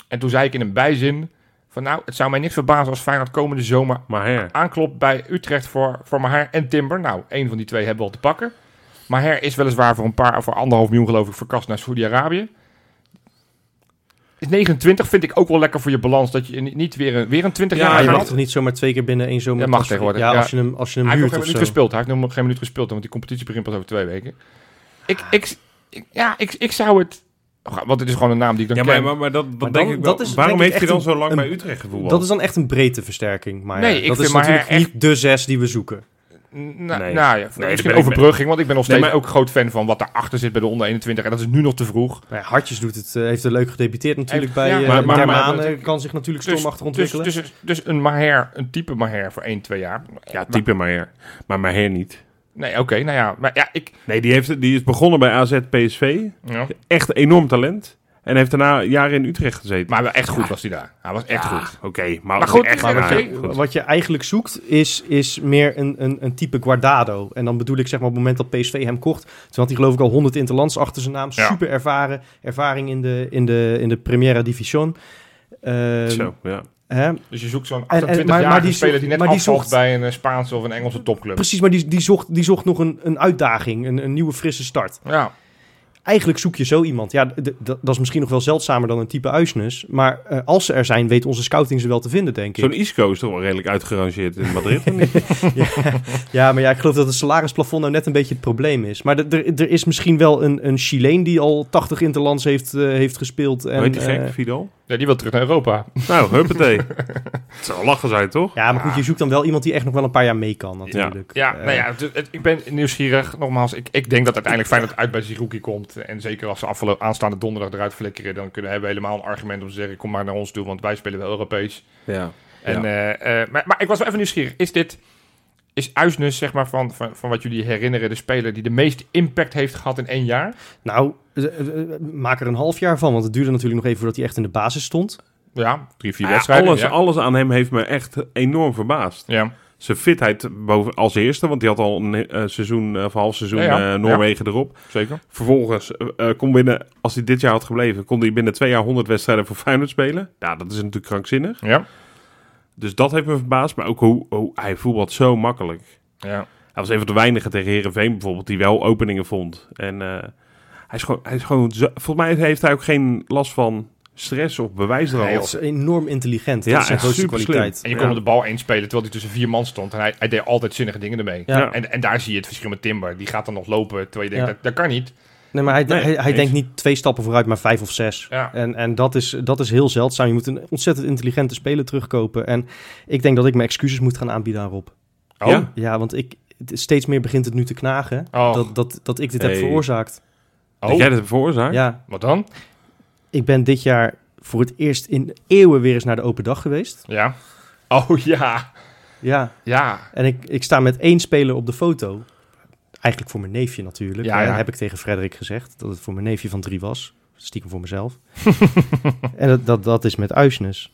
S1: En toen zei ik in een bijzin van nou, het zou mij niks verbazen als Feyenoord komende zomer
S3: Maar her.
S1: aanklopt bij Utrecht voor, voor Maher en Timber. Nou, één van die twee hebben we al te pakken. Maher is weliswaar voor een paar, voor anderhalf miljoen geloof ik, verkast naar Saudi-Arabië. Is 29 vind ik ook wel lekker voor je balans. Dat je niet niet weer een, weer een 20
S3: Ja,
S1: jaar
S2: ja, je
S1: gaat.
S2: mag toch niet zomaar twee keer binnen één zomer...
S1: Dat mag
S2: transfer-
S1: tegenwoordig,
S2: Ja,
S1: ja.
S2: als je hem, als je hem
S1: Hij heeft nog
S2: huurt
S1: geen
S2: of
S1: minuut
S2: zo.
S1: gespeeld. Hij heeft nog geen minuut gespeeld, want die competitie begint pas over twee weken. Ik, ik, ik- ja, ik, ik zou het... Want het is gewoon een naam die ik dan
S3: Ja, maar,
S1: ken.
S3: maar, maar dat, dat
S2: Maar
S3: denk
S2: dan-
S3: ik wel.
S2: dat is
S3: Waarom
S2: denk ik
S3: heeft hij dan
S2: echt
S3: zo
S2: een-
S3: lang
S2: een-
S3: bij Utrecht gevoetbald?
S2: Dat is dan echt een breedteversterking. Maar
S1: Nee,
S2: ja,
S1: ik
S2: dat
S1: vind
S2: is
S1: maar
S2: natuurlijk
S1: echt-
S2: niet de zes die we zoeken.
S1: Nou,
S3: Nee.
S1: nou ja,
S3: ben
S1: misschien
S3: ik-
S1: overbrugging, want ik ben nog
S3: Nee,
S1: steeds
S3: maar-
S1: ook groot fan van wat daarachter zit bij de onder 21. En dat is nu nog te vroeg.
S2: Nou ja, Hartjes doet het, eh, heeft er leuk gedebuteerd natuurlijk
S1: Heeft- ja,
S2: bij eh
S3: maar- maar- maar-
S2: Dermaan,
S1: maar-
S2: eh, kan zich natuurlijk
S1: Dus-
S2: stormachtig ontwikkelen.
S1: Dus, dus, dus een Maher, een type Maher voor 1, 2 jaar.
S3: Ja, type maar her. Maar maar her niet.
S1: Nee, oké, nou ja. Maar ja, ik...
S3: Nee, die, heeft, die is begonnen bij AZ PSV.
S1: Ja.
S3: Echt enorm talent. En heeft daarna jaren in Utrecht gezeten.
S1: Maar wel echt goed was hij daar. Hij was echt
S3: Ja,
S1: goed.
S3: Oké, Ah. maar,
S1: Maar goed,
S3: echt
S1: maar
S3: maar,
S1: oké,
S3: goed.
S2: Wat je eigenlijk zoekt is, is meer een, een, een type Guardado. En dan bedoel ik zeg maar op het moment dat PSV hem kocht. Toen had hij geloof ik al 100 interlands achter zijn naam.
S1: Ja.
S2: Super ervaren. Ervaring in de, in de, in de Primera Division. Ehm,
S3: Zo, ja.
S2: Hè?
S1: Dus je zoekt zo'n
S2: en-
S1: 28-jarige
S2: maar- maar die
S1: speler die
S2: zoekt-
S1: net
S2: maar die
S1: afvalt
S2: zoekt-
S1: bij een eh, Spaanse of een Engelse topclub.
S2: Precies, maar die, die, zocht, die zocht nog een, een uitdaging. Een, een nieuwe frisse start.
S1: Ja,
S2: Eigenlijk zoek je zo iemand. Ja, d- d- dat is misschien nog wel zeldzamer dan een type Uisnes. Maar eh, als ze er zijn, weet onze scouting ze wel te vinden, denk ik.
S3: Zo'n Isco is toch wel redelijk uitgerangeerd in Madrid? of niet?
S2: Ja, maar ja, ik geloof dat het salarisplafond nou net een beetje het probleem is. Maar d- er er is misschien wel een, een Chileen die al 80 interlands heeft, eh, heeft gespeeld. En,
S3: Weet je gek,
S2: eh,
S3: Vidal?
S1: Ja, die wil terug naar Europa.
S3: Nou, huppatee. Het zou wel lachen zijn, toch?
S2: ja, maar goed, je zoekt dan wel iemand die echt nog wel een paar jaar mee kan natuurlijk.
S1: Ja,
S2: Eh,
S1: nou ja, het- het- ik ben nieuwsgierig. Nogmaals, ik, ik denk dat uiteindelijk Feyenoord uit bij Zirouki komt. En zeker als ze afgelo- aanstaande donderdag eruit flikkeren... dan kunnen hebben we helemaal een argument om te zeggen... kom maar naar ons toe, want wij spelen wel Europees.
S3: Ja.
S1: En,
S3: Ja.
S1: eh, eh, maar, maar ik was wel even nieuwsgierig. Is dit... Is Uisnes, zeg maar, van, van, van wat jullie herinneren... de speler die de meeste impact heeft gehad in één jaar?
S2: Nou, eh, eh, eh, maak er een half jaar van, want het duurde natuurlijk nog even voordat hij echt in de basis stond.
S1: Ja, drie, vier
S3: Ja,
S1: wedstrijden.
S3: alles,
S1: ja.
S3: alles aan hem heeft me echt enorm verbaasd.
S1: ja.
S3: Zijn fitheid boven, als eerste, want die had al een eh, seizoen, eh, of half seizoen
S1: Ja, ja.
S3: eh, Noorwegen erop.
S1: zeker.
S3: Vervolgens eh, eh, kon binnen, als hij dit jaar had gebleven, kon hij binnen twee jaar 100 wedstrijden voor Feyenoord spelen. Ja, dat is natuurlijk krankzinnig.
S1: Ja.
S3: Dus dat heeft me verbaasd, maar ook hoe, hoe hij voetbalt zo makkelijk.
S1: Ja.
S3: Hij was een van de weinigen tegen Herenveen bijvoorbeeld die wel openingen vond. En eh, hij is gewoon, hij is gewoon zo- volgens mij heeft hij ook geen last van stress of bewijsdrang.
S1: Nee,
S2: Hij is enorm intelligent.
S3: Ja,
S2: dat is zijn
S3: echt
S2: grootste
S3: superslim.
S2: kwaliteit.
S1: En je
S3: Ja.
S1: kon op de bal inspelen terwijl hij tussen vier man stond. En hij, hij deed altijd zinnige dingen ermee.
S2: Ja.
S1: En, en daar zie je het verschil met Timber. Die gaat dan nog lopen terwijl je denkt,
S2: Ja.
S1: dat, dat kan niet.
S2: Nee, maar hij,
S3: Nee,
S2: hij, hij
S3: eens.
S2: denkt niet twee stappen vooruit, maar vijf of zes.
S1: Ja.
S2: En, en dat, is, dat is heel zeldzaam. Je moet een ontzettend intelligente speler terugkopen. En ik denk dat ik mijn excuses moet gaan aanbieden aan Rob.
S1: Oh,
S3: Ja.
S2: Ja, want ik, het- steeds meer begint het nu te knagen
S1: Och.
S2: dat, dat, dat ik dit
S3: Hey.
S2: heb veroorzaakt.
S3: Dat
S1: oh.
S3: jij dat hebt veroorzaakt?
S2: Ja,
S1: wat dan?
S2: ik ben dit jaar voor het eerst in eeuwen weer eens naar de open dag geweest.
S1: Ja. Oh ja.
S2: Ja,
S1: Ja.
S2: en ik, ik sta met één speler op de foto. Eigenlijk voor mijn neefje natuurlijk.
S1: Ja,
S2: Ja,
S1: ja.
S2: heb ik tegen Frederik gezegd dat het voor mijn neefje van drie was. Stiekem voor mezelf. en dat, dat, dat is met Uisnes.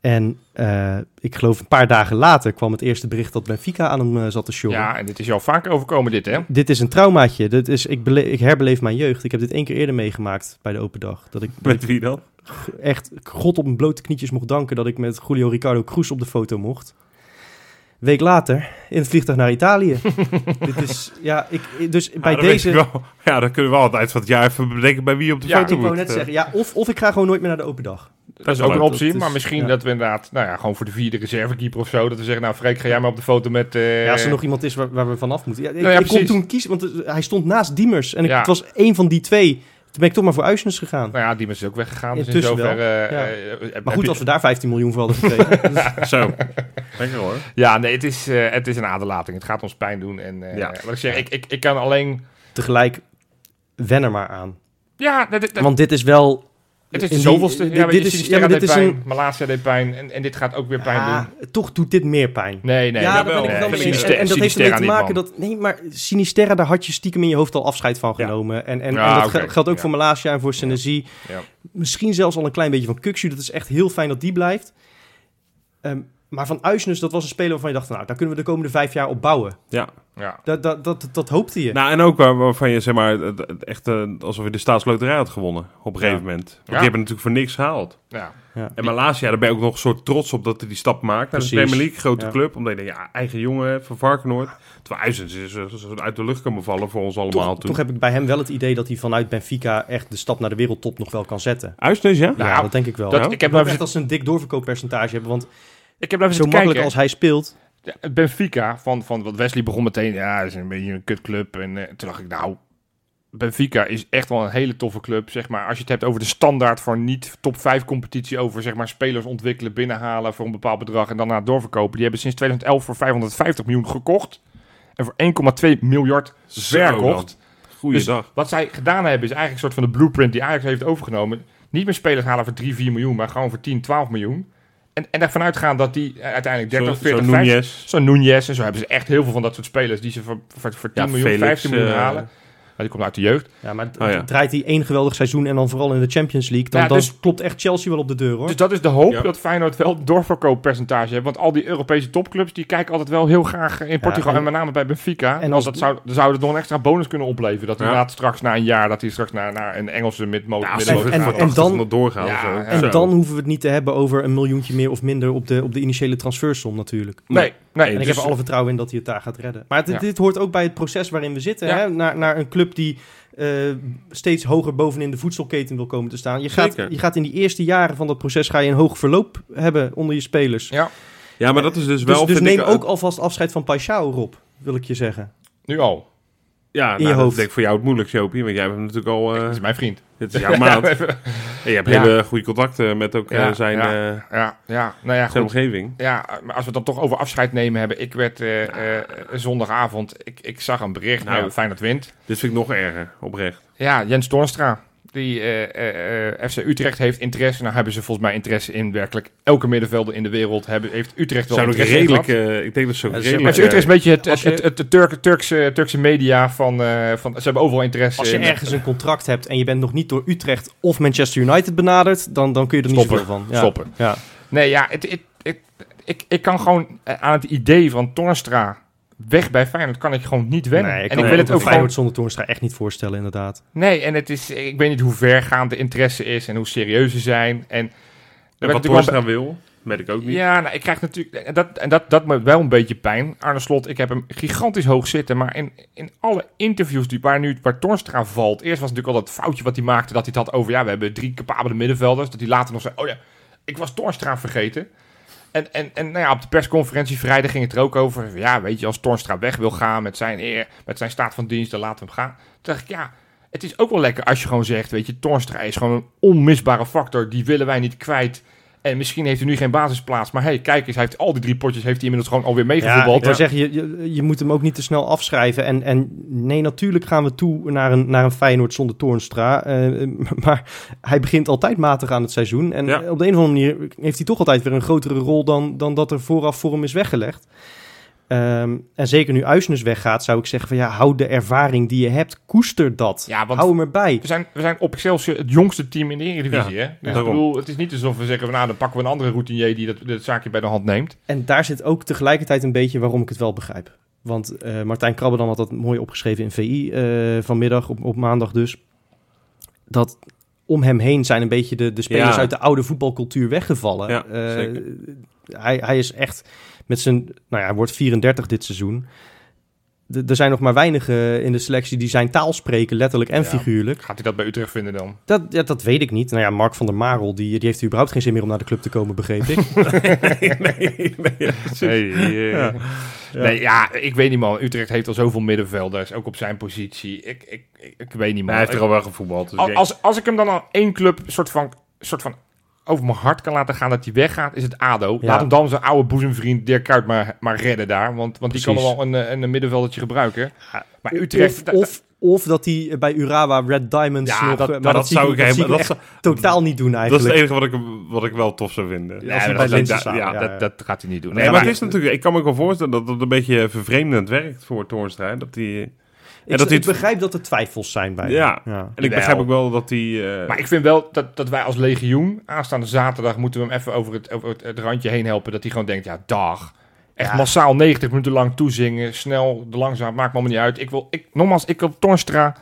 S2: En eh, ik geloof een paar dagen later kwam het eerste bericht dat Benfica aan hem eh, zat te sjorren.
S1: Ja, en dit is jou vaker overkomen dit, hè?
S2: Dit is een traumaatje. Dit is, ik, bele- ik herbeleef mijn jeugd. Ik heb dit één keer eerder meegemaakt bij de open dag. Dat ik, dat
S3: Met wie dan?
S2: ik echt God op mijn blote knietjes mocht danken dat ik met Julio Ricardo Cruz op de foto mocht. Week later, in het vliegtuig naar Italië. dit is, ja, ik, dus
S1: Nou,
S2: bij
S3: Ah, dan weet
S2: deze...
S3: ik wel- ja, dan kunnen we al het eind van het jaar even bedenken bij wie op de
S1: Ja,
S3: foto
S2: Ik
S3: moet.
S2: wou net
S3: Eh,
S2: zeggen, ja, of, of ik ga gewoon nooit meer naar de open dag.
S1: Dat is
S3: wel
S1: ook een
S3: leuk.
S1: optie.
S2: Dat is-
S1: maar misschien
S2: ja.
S1: dat we inderdaad, nou ja, gewoon voor de vierde reservekeeper of zo. Dat we zeggen, nou Freek, ga jij maar op de foto met... eh,
S2: Ja, als er nog iemand is waar, waar we vanaf moeten. Ja, ik,
S1: Nou ja,
S2: ik kon
S1: precies.
S2: toen kiezen, want eh, hij stond naast Diemers. En ik,
S1: Ja.
S2: het was één van die twee. Toen ben ik toch maar voor Uisnes gegaan.
S1: Nou ja, die is ook weggegaan. Dus in
S2: Intussen wel,
S1: zover... eh,
S2: ja.
S1: eh, heb
S2: Maar goed,
S1: je-
S2: als we daar 15 miljoen voor hadden gekregen. Dus-
S3: Zo. Lekker hoor.
S1: Ja, nee, het is, eh, het is een aderlating. Het gaat ons pijn doen. En eh,
S3: Ja.
S1: wat ik zeg, ik, ik, ik kan alleen...
S2: tegelijk wen er maar aan.
S1: Ja, dat- dat-
S2: Want dit is wel...
S1: het is
S2: in
S1: de
S2: die-
S1: zoveelste.
S2: dit-
S1: ja, maar
S2: dit
S1: dit
S2: is-
S1: is,
S2: ja, maar
S1: deed
S2: dit is
S1: pijn,
S2: een-
S1: Malasia deed pijn. En, en dit gaat ook weer pijn
S2: Ah,
S1: doen.
S2: toch doet dit meer pijn.
S1: Nee,
S2: ja,
S1: nee. nee,
S2: daar ben ik
S1: nee,
S2: het wel mee eens.
S1: Sinister-
S2: En, en dat heeft
S1: Sinister
S2: ermee
S1: aan
S2: te
S1: die
S2: maken
S1: man.
S2: dat... Nee, maar Sinisterra, daar had je stiekem in je hoofd al afscheid van
S3: Ja.
S2: genomen. En, en,
S1: Ja,
S2: en dat
S1: oké.
S2: gel- geldt ook
S1: Ja.
S2: voor Malasia en voor Senesi.
S1: Ja.
S2: Misschien zelfs al een klein beetje van Kuksu. Dat is echt heel fijn dat die blijft. Ehm, maar van Uisnes, dat was een speler waarvan je dacht... Nou, daar kunnen we de komende vijf jaar op bouwen.
S3: Ja.
S1: Ja.
S2: Dat, dat, dat, dat hoopte je.
S3: Nou, en ook waar- waarvan je zeg maar het- het echt eh, alsof je de staatsloterij had gewonnen op een gegeven
S2: Ja.
S3: moment. Want
S1: Ja.
S3: die hebben natuurlijk voor niks gehaald.
S1: Ja.
S3: En Malasia, daar ben ik ook nog een soort trots op dat hij die stap maakt. Naar de
S2: Precies.
S3: Premier League, grote
S2: Ja.
S3: club. Omdat je denkt, ja, eigen jongen van Varkenoord. Terwijl Uizens is eh, zo uit de lucht komen vallen voor ons allemaal
S2: toch,
S3: toen.
S2: toch heb ik bij hem wel het idee dat hij vanuit Benfica... echt de stap naar de wereldtop nog wel kan zetten.
S3: Uizens, ja?
S1: Nou,
S2: ja, dat denk ik wel.
S1: Dat, ik heb
S2: Maar
S1: nou
S2: echt
S1: even,
S2: als ze een dik doorverkooppercentage hebben. Want
S1: ik heb nou even
S2: zo
S1: zitten
S2: makkelijk
S1: kijken.
S2: als hij speelt.
S1: Ja, Benfica, van, van wat Wesley begon meteen, ja, het is een beetje een kutclub. En eh, toen dacht ik, nou, Benfica is echt wel een hele toffe club, zeg maar. Als je het hebt over de standaard van niet top 5 competitie, over zeg maar spelers ontwikkelen, binnenhalen voor een bepaald bedrag en daarna doorverkopen. Die hebben sinds 2011 voor 550 miljoen gekocht en voor 1,2 miljard
S3: Zo
S1: verkocht.
S3: dan.
S2: Dus
S3: Goeiedag.
S1: Wat zij gedaan hebben is eigenlijk een soort van de blueprint die Ajax heeft overgenomen. Niet meer spelers halen voor 3, 4 miljoen, maar gewoon voor 10, 12 miljoen. En, en ervan uitgaan dat die eh, uiteindelijk 30,
S3: zo,
S1: 40,
S3: zo
S1: 50...
S3: Nunez.
S1: Zo'n Nunez en zo hebben ze echt heel veel van dat soort spelers die ze voor, voor, voor 10
S3: Ja,
S1: miljoen,
S3: Felix,
S1: 15 miljoen
S3: eh,
S1: halen. Maar die komt uit de jeugd.
S2: Ja, maar d-
S3: Oh ja.
S2: d- draait hij één geweldig seizoen en dan vooral in de Champions League. Dan,
S1: Ja,
S2: dan
S1: dus-
S2: klopt echt Chelsea wel op de deur hoor.
S1: Dus dat is de hoop
S3: Ja.
S1: dat Feyenoord wel een doorverkooppercentage heeft. Want al die Europese topclubs die kijken altijd wel heel graag in Portugal en,
S2: en-
S1: met name bij Benfica.
S2: en
S1: En
S2: als-
S1: als dat zou, dan zou het nog een extra bonus kunnen opleveren. Dat
S3: Ja.
S1: inderdaad straks na een jaar, dat hij straks naar, naar een Engelse mid
S3: Ja,
S1: mogelijk
S3: en,
S2: en- en
S3: en,
S2: dan-
S3: dan doorgaan.
S1: Ja,
S3: zo.
S1: ja.
S2: en
S3: Zo.
S2: dan hoeven we het niet te hebben over een miljoentje meer of minder op de, op de initiële transfersom natuurlijk.
S1: Nee, nee.
S2: En ik
S1: dus-
S2: heb er alle vertrouwen in dat hij het daar gaat redden. Maar dit,
S1: Ja.
S2: dit hoort ook bij het proces waarin we zitten.
S1: Ja.
S2: Hè? Naar, naar een club die eh, steeds hoger bovenin de voedselketen wil komen te staan. Je gaat,
S3: Zeker.
S2: je gaat in die eerste jaren van dat proces ga je een hoog verloop hebben onder je spelers.
S1: ja,
S3: ja, maar dat is dus wel...
S2: Dus, dus
S3: vind
S2: neem
S3: ik,
S2: ook alvast afscheid van Paixão, Rob, wil ik je zeggen.
S1: nu al.
S3: ja, nou,
S2: je
S3: dat
S2: hoofd.
S3: is denk ik voor jou het moeilijkst, Jopie. Want jij hebt hem natuurlijk al... eh,
S1: Dat is mijn vriend.
S3: dit is jouw maat. En je hebt
S1: Ja.
S3: hele goede contacten met ook eh,
S1: Ja,
S3: zijn,
S1: ja.
S3: eh,
S1: Ja, ja, nou ja,
S3: zijn
S1: goed.
S3: omgeving.
S1: Ja, maar als we het dan toch over afscheid nemen hebben. Ik werd eh, eh, zondagavond, ik, ik zag een bericht.
S3: Nou.
S1: Nou, Feyenoord wint.
S3: Dit vind ik nog erger, oprecht.
S1: Ja, Jens Toornstra. Die eh, eh, eh, FC Utrecht heeft interesse. Nou hebben ze volgens mij interesse in werkelijk elke middenvelder in de wereld. Hebben, heeft Utrecht wel
S3: Zijn ook
S1: interesse in
S3: redelijk...
S1: gehad.
S3: eh, ik denk dat ze ook
S2: Ja, ze-
S1: FC
S3: redelijk...
S1: Utrecht is een beetje het,
S2: als
S1: het,
S2: je-
S1: het, het Turk- Turkse, Turkse media van, eh, van... Ze hebben overal interesse
S2: Als je
S1: in.
S2: ergens een contract hebt en je bent nog niet door Utrecht of Manchester United benaderd, dan, dan kun je er
S1: Stoppen.
S2: niet zoveel van. Ja.
S1: eh, Stoppen.
S2: Ja.
S1: Nee, ja, het, het, het- ik, ik kan gewoon eh, aan het idee van Toornstra weg bij Feyenoord kan ik gewoon niet wennen.
S2: Nee, ik
S1: en
S2: kan me
S1: ik wil het ook gewoon
S2: Feyenoord zonder Toornstra echt niet voorstellen, inderdaad.
S1: Nee, en het is, ik weet niet hoe vergaand de interesse is en hoe serieus ze zijn. En er
S3: En
S1: werd
S3: wat
S1: natuurlijk wel-
S3: Torstra wil. Weet ik ook niet.
S1: Ja, nou, ik krijg natuurlijk. en Dat, en dat, dat me wel een beetje pijn. Arne Slot, ik heb hem gigantisch hoog zitten. Maar in, in alle interviews die, waar nu waar Torstra valt. Eerst was natuurlijk al dat foutje wat hij maakte. Dat hij het had over. Ja, we hebben drie capabele middenvelders. Dat hij later nog zei. Oh ja, ik was Torstra vergeten. En, en, en nou ja, op de persconferentie vrijdag ging het er ook over. Ja, weet je, als Torstra weg wil gaan met zijn eer. Met zijn staat van dienst, dan laten we hem gaan. Toen dacht ik, ja. Het is ook wel lekker als je gewoon zegt. Weet je, Torstra is gewoon een onmisbare factor. Die willen wij niet kwijt. En misschien heeft hij nu geen basisplaats. Maar hey, kijk eens, hij heeft al die drie potjes heeft hij inmiddels gewoon alweer
S2: Ja, ik
S1: meegevoetbald.
S2: wil zeggen, je, je, je moet hem ook niet te snel afschrijven. En, en nee, natuurlijk gaan we toe naar een, naar een Feyenoord zonder Toornstra. Eh, maar hij begint altijd matig aan het seizoen. En
S3: Ja.
S2: op de een of andere manier heeft hij toch altijd weer een grotere rol dan, dan dat er vooraf voor hem is weggelegd. Ehm, en zeker nu Uisnes weggaat, zou ik zeggen van ja, hou de ervaring die je hebt, koester dat.
S1: Ja, want-
S2: hou hem erbij.
S1: We zijn, we zijn op Excelsior het jongste team in de Eredivisie. hè? Dus ik
S3: daarom.
S1: bedoel, het is niet alsof we zeggen, van, nou, dan pakken we een andere routinier die dat, dat zaakje bij de hand neemt.
S2: En daar zit ook tegelijkertijd een beetje waarom ik het wel begrijp. Want eh, Martijn Krabbedam had dat mooi opgeschreven in VI eh, vanmiddag, op, op maandag dus. Dat om hem heen zijn een beetje de, de spelers
S3: Ja.
S2: uit de oude voetbalcultuur weggevallen.
S3: Ja,
S2: Eh,
S3: zeker.
S2: hij, hij is echt met zijn, nou ja, hij wordt 34 dit seizoen. D- Er zijn nog maar weinigen eh, in de selectie die zijn taal spreken, letterlijk en
S1: Ja.
S2: figuurlijk.
S1: Gaat hij dat bij Utrecht vinden dan?
S2: Dat, ja, dat weet ik niet. Nou ja, Mark van der Marel, die, die heeft überhaupt geen zin meer om naar de club te komen, begreep ik.
S3: nee, nee, nee.
S1: Nee,
S3: eh.
S1: ja. Nee, ja, ik weet niet man. Utrecht heeft al zoveel middenvelders, ook op zijn positie. Ik, ik, ik, ik weet niet man.
S3: Maar hij heeft er al wel gevoetbald. Dus ik
S1: Al-
S3: denk-
S1: als, als ik hem dan al één club soort van, soort van over mijn hart kan laten gaan dat hij weggaat, is het ADO.
S2: Ja.
S1: Laat hem dan zijn oude boezemvriend Dirk Kuyt maar, maar redden daar. Want, want die kan
S2: Precies.
S1: wel een, eh, een middenveldertje gebruiken.
S3: Ja.
S1: Maar Utrecht...
S2: Eh, Of, of, of dat hij bij Urawa Red Diamonds
S1: Ja,
S2: nog...
S1: dat-
S2: maar
S3: dat
S2: zie
S3: zou ik
S2: dat
S3: helemaal-
S2: zie
S3: dat
S2: echt
S3: zou-
S2: totaal niet doen
S3: dat is
S2: eigenlijk.
S3: het enige wat ik, wat ik wel tof zou vinden.
S1: Nee,
S2: als hij
S1: maar
S2: bij
S1: dat-
S2: Linzen
S1: dat-
S2: staat,
S1: ja,
S2: ja, ja.
S1: Dat, dat gaat hij niet doen.
S3: Nee, maar het is natuurlijk, ik kan me ook wel voorstellen dat het een beetje vervreemdend werkt voor Toornstra. hè, Dat die,
S2: ik,
S3: dat hij
S2: ik
S3: het-
S2: begrijp dat er twijfels zijn bij hem.
S3: Ja.
S2: ja.
S3: en ik begrijp ook wel dat die... eh,
S1: Maar ik vind wel dat, dat wij als legioen, aanstaande zaterdag, moeten we hem even over het, over het, het randje heen helpen. Dat hij gewoon denkt, ja, dag. Echt
S2: Ja.
S1: massaal 90 minuten lang toezingen. Snel, de langzaam, maakt me allemaal niet uit. Ik wil, ik, nogmaals, ik wil Torstra.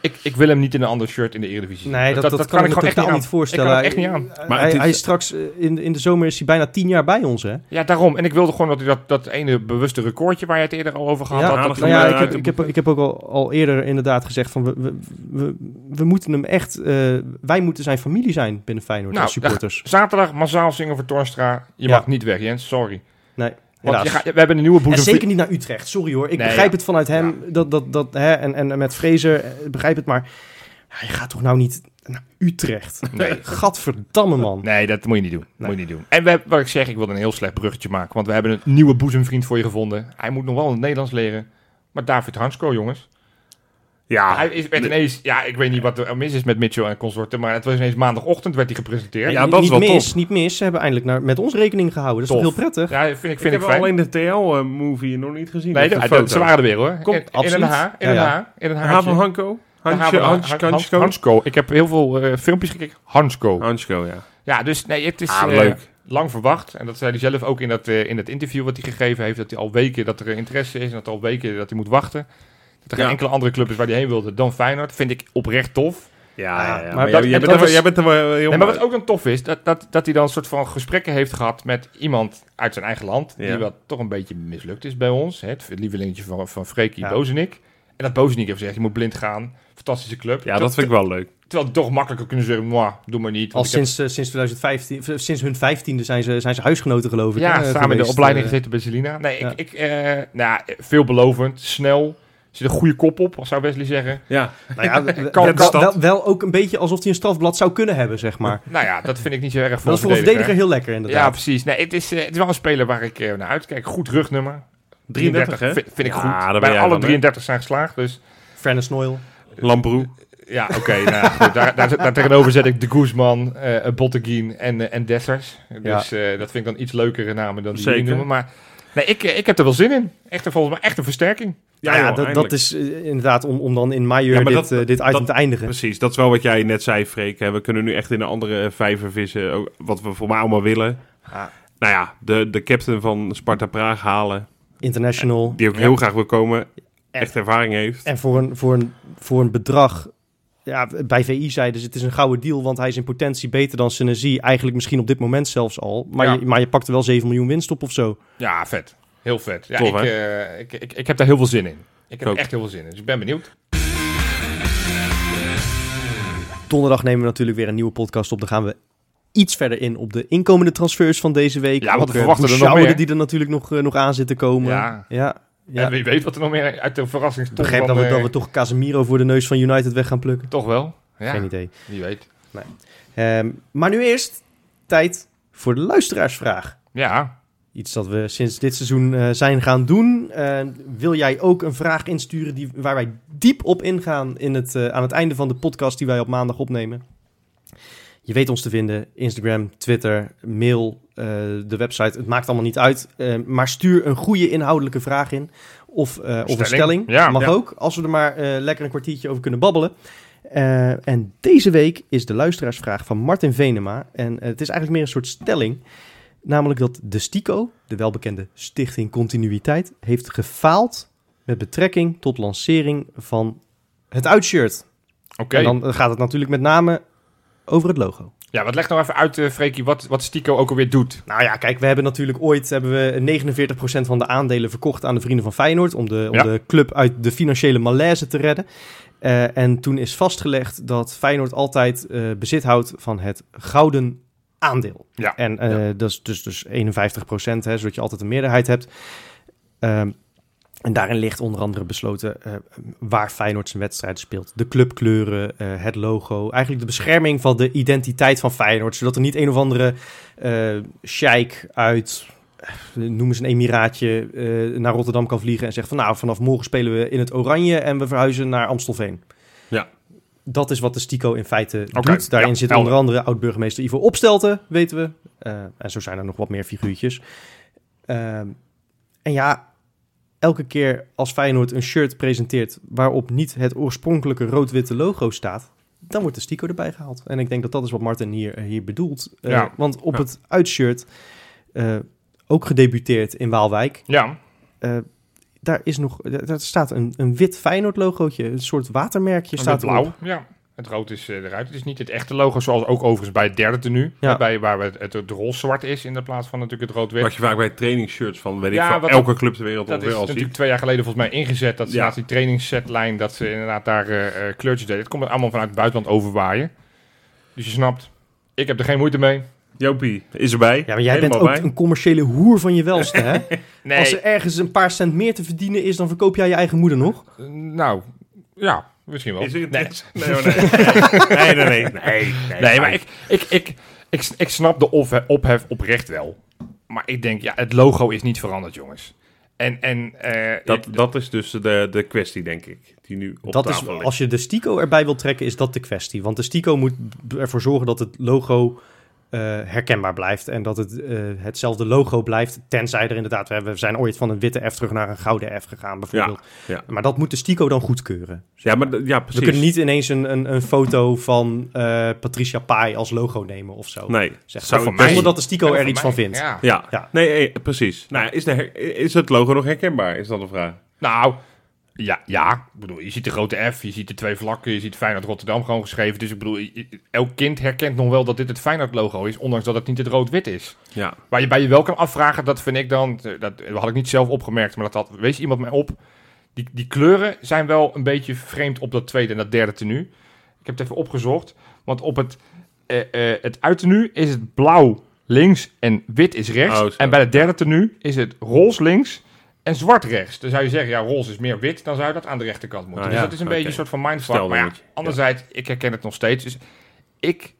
S1: Ik, ik wil hem niet in een ander shirt in de Eredivisie.
S2: Nee, dat, dat, kan, ik me
S1: gewoon echt
S2: totaal
S1: niet
S2: niet,
S1: aan.
S2: voorstellen.
S1: Ik kan het echt niet aan.
S2: Hij-
S3: Maar
S2: hij,
S3: het is-
S2: hij is straks, eh, in, in de zomer is hij bijna tien jaar bij ons, hè?
S1: Ja, daarom. En ik wilde gewoon dat hij dat, dat ene bewuste recordje waar je het eerder al over gehad
S2: Ja,
S1: had. Dat,
S3: aandacht
S2: Nou ja,
S3: Maar,
S2: ik heb,
S3: eh,
S2: ik heb, ik heb ook al, al eerder inderdaad gezegd van... We, we, we, we moeten hem echt... eh, wij moeten zijn familie zijn binnen Feyenoord
S1: Nou,
S2: als supporters.
S1: zaterdag massaal zingen voor Torstra. Je
S2: Ja.
S1: mag niet weg, Jens. Sorry.
S2: Nee,
S1: Want
S2: helaas.
S1: je gaat- we hebben een nieuwe
S2: En
S1: boezem.
S2: zeker niet naar Utrecht, sorry hoor. Ik
S1: Nee,
S2: begrijp
S1: ja.
S2: het vanuit hem, dat, dat, dat, hè, en, en met Fraser eh, begrijp het, maar hij gaat toch nou niet naar Utrecht?
S1: Nee.
S2: Gadverdamme man.
S1: Nee, dat moet je niet doen.
S2: Nee.
S1: Moet je niet doen. En we, hebben- wat ik zeg, ik wilde een heel slecht bruggetje maken. Want we hebben een nieuwe boezemvriend voor je gevonden. Hij moet nog wel het Nederlands leren. Maar David Hansko, jongens.
S3: ja,
S1: hij is, werd ineens... Ja, ik weet niet wat er mis is met Mitchell en consorten. Maar het was ineens maandagochtend werd hij gepresenteerd. Ja,
S3: Ja, dat is
S2: niet
S3: wel
S2: mis,
S3: tof.
S2: niet mis. Ze hebben eindelijk naar, met ons rekening gehouden. Dat is
S1: Tof.
S2: toch heel prettig?
S1: vind ik,
S3: ik
S1: vind ik,
S3: heb
S1: fijn.
S3: alleen de TL-movie nog niet gezien.
S1: Nee,
S3: Of de
S1: dat,
S3: foto.
S1: dat- ze waren er weer, hoor.
S3: Kom,
S1: in, in een
S2: absoluut.
S1: haar. In
S2: Ja,
S1: een
S2: ja.
S1: haar. In een
S3: De haven
S1: haartje.
S3: Hanko?
S1: De
S3: Hansje-
S1: haven-
S3: Hans-
S1: Han-
S3: Hansko?
S1: Hansko. Ik heb heel veel eh, filmpjes gekeken. Hansko.
S3: Hansko, ja.
S1: Ja, dus nee, het is
S3: Ah,
S1: eh,
S3: leuk.
S1: lang verwacht. En dat zei hij zelf ook in dat, eh, in dat interview wat hij gegeven heeft. Dat hij al weken dat er eh, interesse is en dat er al weken dat hij moet wachten. Dat er geen
S3: Ja.
S1: enkele andere club is waar hij heen wilde dan Feyenoord. Vind ik oprecht tof.
S3: Ja, ja, ja.
S2: maar
S3: Maar
S1: dat-
S3: jij- jij
S1: dat
S3: bent er wel-
S1: was-
S3: jij bent er wel heel...
S1: Nee, maar wat ook dan tof is, dat, dat, dat hij dan een soort van gesprekken heeft gehad met iemand uit zijn eigen land.
S3: Ja.
S1: Die wat toch een beetje mislukt is bij ons. Hè? Het lievelingetje van, van Freekie
S2: Ja.
S1: Bozenik. En dat Bozenik heeft gezegd, je moet blind gaan. Fantastische club.
S3: Ja, dat vind ik wel leuk.
S1: Ter- Terwijl het toch makkelijker kunnen zeggen, moi, doe maar niet. want
S2: Al
S1: ik heb-
S2: sinds, eh, sinds 2015, v- sinds hun vijftiende zijn ze, zijn ze huisgenoten geloof ik.
S1: Ja,
S2: hè,
S1: samen in de
S2: geweest.
S1: opleiding
S2: Eh,
S1: gezeten bij Selina. Nee, ik,
S2: ja.
S1: ik, eh, nou, veelbelovend, snel. Zit een goede kop op, zou Wesley zeggen.
S3: Ja,
S2: nou ja, we- we-
S1: Kan-
S2: wel-
S1: kan-
S2: wel, wel ook een beetje alsof hij een strafblad zou kunnen hebben, zeg maar.
S1: Nou ja, dat vind ik niet zo erg voor
S2: Dat is voor een verdediger heel lekker inderdaad.
S1: Ja, precies. Nee, het is, eh, het is wel een speler waar ik eh, naar uitkijk. Goed rugnummer.
S3: 33, hè?
S1: vind, vind ik
S3: Ja, daar
S1: goed.
S3: ben
S1: Bij
S3: jij
S1: alle
S3: van, hè?
S1: 33 zijn geslaagd, dus...
S2: Fernandes Noyle.
S3: Lambroe.
S1: Ja, oké. nou, ja, goed, daar, daar, daar tegenover zet ik de Guzman, eh Botteguin en, eh, en Dessers. Dus eh, dat vind ik dan iets leukere namen dan die jullie
S3: Zeker.
S1: noemen. Maar nee, ik, eh, ik heb er wel zin in. Echt, een- volgens mij echt een versterking.
S2: Nou Ja, ja, dat, dat is eh, inderdaad om, om dan in majeur
S3: Ja, maar
S2: dit,
S3: dat-
S2: eh, dit item
S3: dat-
S2: te eindigen.
S3: Precies, dat is wel wat jij net zei, Freek. hè. We kunnen nu echt in een andere eh, vijver vissen, ook wat we voor mij allemaal willen.
S1: Ja.
S3: Nou ja, de, de captain van Sparta Praag halen,
S2: International.
S3: die ook heel graag wil komen, echt ervaring heeft.
S2: En voor een, voor een, voor een bedrag. ja, bij VI zeiden ze het is een gouden deal, want hij is in potentie beter dan Senesi. Eigenlijk misschien op dit moment zelfs al. Maar,
S1: Ja.
S2: je, maar je pakt er wel 7 miljoen winst op of zo.
S1: Ja, vet. Heel vet. Ja,
S3: Tof,
S1: ik,
S3: hè?
S1: eh, ik, ik, ik heb daar heel veel zin in. Ik heb
S3: Ook.
S1: echt heel veel zin in. Dus ik ben benieuwd.
S2: Donderdag nemen we natuurlijk weer een nieuwe podcast op. Dan gaan we iets verder in op de inkomende transfers van deze week.
S1: Ja, want we
S2: Ook, eh,
S1: verwachten er nog
S2: Bouchauer
S1: meer.
S2: die er natuurlijk nog, eh, nog aan zitten komen.
S1: Ja.
S2: ja. ja.
S1: En wie weet wat er nog meer uit de verrassingstop
S2: begrijp
S1: van,
S2: dat we, dat
S1: eh,
S2: we toch Casemiro voor de neus van United weg gaan plukken.
S1: Toch wel? Ja,
S2: Geen idee.
S1: wie weet.
S2: Ehm, maar nu eerst tijd voor de luisteraarsvraag.
S1: Ja,
S2: Iets dat we sinds dit seizoen eh, zijn gaan doen. Eh, wil jij ook een vraag insturen die, waar wij diep op ingaan in het, eh, aan het einde van de podcast die wij op maandag opnemen? Je weet ons te vinden. Instagram, Twitter, mail, eh, de website. Het maakt allemaal niet uit. Eh, maar stuur een goede inhoudelijke vraag in. Of, eh, of een stelling.
S1: Ja,
S2: Mag
S1: ja.
S2: ook, als we er maar eh, lekker een kwartiertje over kunnen babbelen. Eh, en deze week is de luisteraarsvraag van Martin Venema. En eh, het is eigenlijk meer een soort stelling. Namelijk dat de STICO, de welbekende Stichting Continuïteit, heeft gefaald met betrekking tot lancering van het uitshirt.
S1: oké.
S2: En dan gaat het natuurlijk met name over het logo.
S1: Ja, wat leg nou even uit, eh Freekie, wat, wat Stico ook alweer doet.
S2: Nou ja, kijk, we hebben natuurlijk ooit hebben we 49% van de aandelen verkocht aan de vrienden van Feyenoord. Om de, om
S1: Ja.
S2: de club uit de financiële malaise te redden. Eh, en toen is vastgelegd dat Feyenoord altijd eh, bezit houdt van het gouden aandeel.
S1: Ja.
S2: En eh, dat is dus, dus 51%, hè, zodat je altijd een meerderheid hebt. Ehm, en daarin ligt onder andere besloten eh, waar Feyenoord zijn wedstrijden speelt. De clubkleuren, eh, het logo. Eigenlijk de bescherming van de identiteit van Feyenoord. Zodat er niet een of andere eh sheik uit, eh, noem eens een emiraatje, eh, naar Rotterdam kan vliegen. En zegt van nou, vanaf morgen spelen we in het oranje en we verhuizen naar Amstelveen.
S3: Ja.
S2: Dat is wat de Stico in feite
S1: Oké,
S2: doet. Daarin
S1: ja,
S2: zit
S1: helder.
S2: onder andere oud-burgemeester Ivo Opstelten, weten we. Eh, en zo zijn er nog wat meer figuurtjes. Ehm, en ja, elke keer als Feyenoord een shirt presenteert waarop niet het oorspronkelijke rood-witte logo staat, dan wordt de stico erbij gehaald. En ik denk dat dat is wat Martin hier, hier bedoelt. Eh,
S1: Ja.
S2: Want op
S1: Ja.
S2: het uitshirt, eh, ook gedebuteerd in Waalwijk,
S1: Ja,
S2: eh, daar, is nog, daar daar staat een, een wit Feyenoord logootje, een soort watermerkje
S1: en
S2: staat
S1: met blauw.
S2: erop.
S1: Ja, het rood is eh, eruit. Het is niet het echte logo, zoals ook overigens bij het derde tenue.
S2: Ja.
S1: Ja. Bij, waar het, het, het roze-zwart is in de plaats van natuurlijk het rood-wit.
S3: Wat je vaak bij trainingsshirts van, weet ik,
S1: Ja,
S3: van
S1: wat-
S3: elke club ter wereld
S1: Dat is
S3: ongeveer al
S1: natuurlijk
S3: ziet.
S1: twee jaar geleden volgens mij ingezet. Dat ze
S3: Ja.
S1: naast die trainingssetlijn, dat ze inderdaad daar eh, eh, kleurtjes deden. Het komt allemaal vanuit het buitenland overwaaien. Dus je snapt, ik heb er geen moeite mee.
S3: Jopie is erbij.
S2: Ja, maar jij bent
S3: Helemaal
S2: ook
S3: bij.
S2: een commerciële hoer van je welste, hè?
S1: Nee,
S2: Als er ergens een paar cent meer te verdienen is, dan verkoop jij je eigen moeder nog.
S1: eh, nou, ja, misschien wel.
S3: Is er
S1: nee.
S3: nee. Nee, hoor, nee. nee, nee, nee, nee, nee.
S1: nee, maar ik, ik, ik, ik, s- ik snap de ophe- ophef oprecht wel. Maar ik denk, ja, het logo is niet veranderd, jongens. En, en eh,
S3: Dat, dat is dus de, de kwestie, denk ik, die nu op
S2: dat is,
S3: tafel ligt.
S2: als je de Stico erbij wilt trekken, is dat de kwestie. Want de Stico moet b- ervoor zorgen dat het logo eh, herkenbaar blijft. En dat het eh, hetzelfde logo blijft. Tenzij er inderdaad, we, hebben- we zijn ooit van een witte F terug naar een gouden F gegaan, bijvoorbeeld.
S3: ja.
S2: Maar dat moet de Stico dan goedkeuren.
S3: Ja, maar d- ja, precies.
S2: We kunnen niet ineens een, een, een foto van eh, Patricia Pai als logo nemen of zo.
S3: Nee,
S2: Zeg,
S3: zou
S1: voor
S3: ik
S1: mij-
S3: best-
S2: Zonder dat de Stico
S1: Ja,
S2: er
S1: voor
S2: iets
S1: mij,
S2: van vindt.
S1: Ja.
S3: Ja.
S2: Ja.
S3: nee, eh, precies. Nou, is, de her- is het logo nog herkenbaar? Is dat de vraag?
S1: Nou, ja, ja. Ik bedoel, je ziet de grote F, je ziet de twee vlakken, je ziet Feyenoord Rotterdam gewoon geschreven. Dus ik bedoel, i- i- elk kind herkent nog wel dat dit het Feyenoord logo is, ondanks dat het niet het rood-wit is.
S3: Ja,
S1: Waar je bij je wel kan afvragen, dat vind ik dan, eh, dat had ik niet zelf opgemerkt, maar dat had, wees iemand mij op. Die, die kleuren zijn wel een beetje vreemd op dat tweede en dat derde tenue. Ik heb het even opgezocht, want op het, eh eh het uittenue is het blauw links en wit is
S3: Oh,
S1: rechts.
S3: zo.
S1: en bij het derde tenue is het roze links en zwart rechts. Dan zou je zeggen, ja, roze is meer wit, dan zou je dat aan de rechterkant moeten.
S3: Ah,
S1: dus
S3: ja,
S1: dat is een
S3: oké.
S1: beetje een soort van mindfuck. Maar ja,
S3: Stelmomentje, ja.
S1: anderzijds, ik herken het nog steeds. Dus ik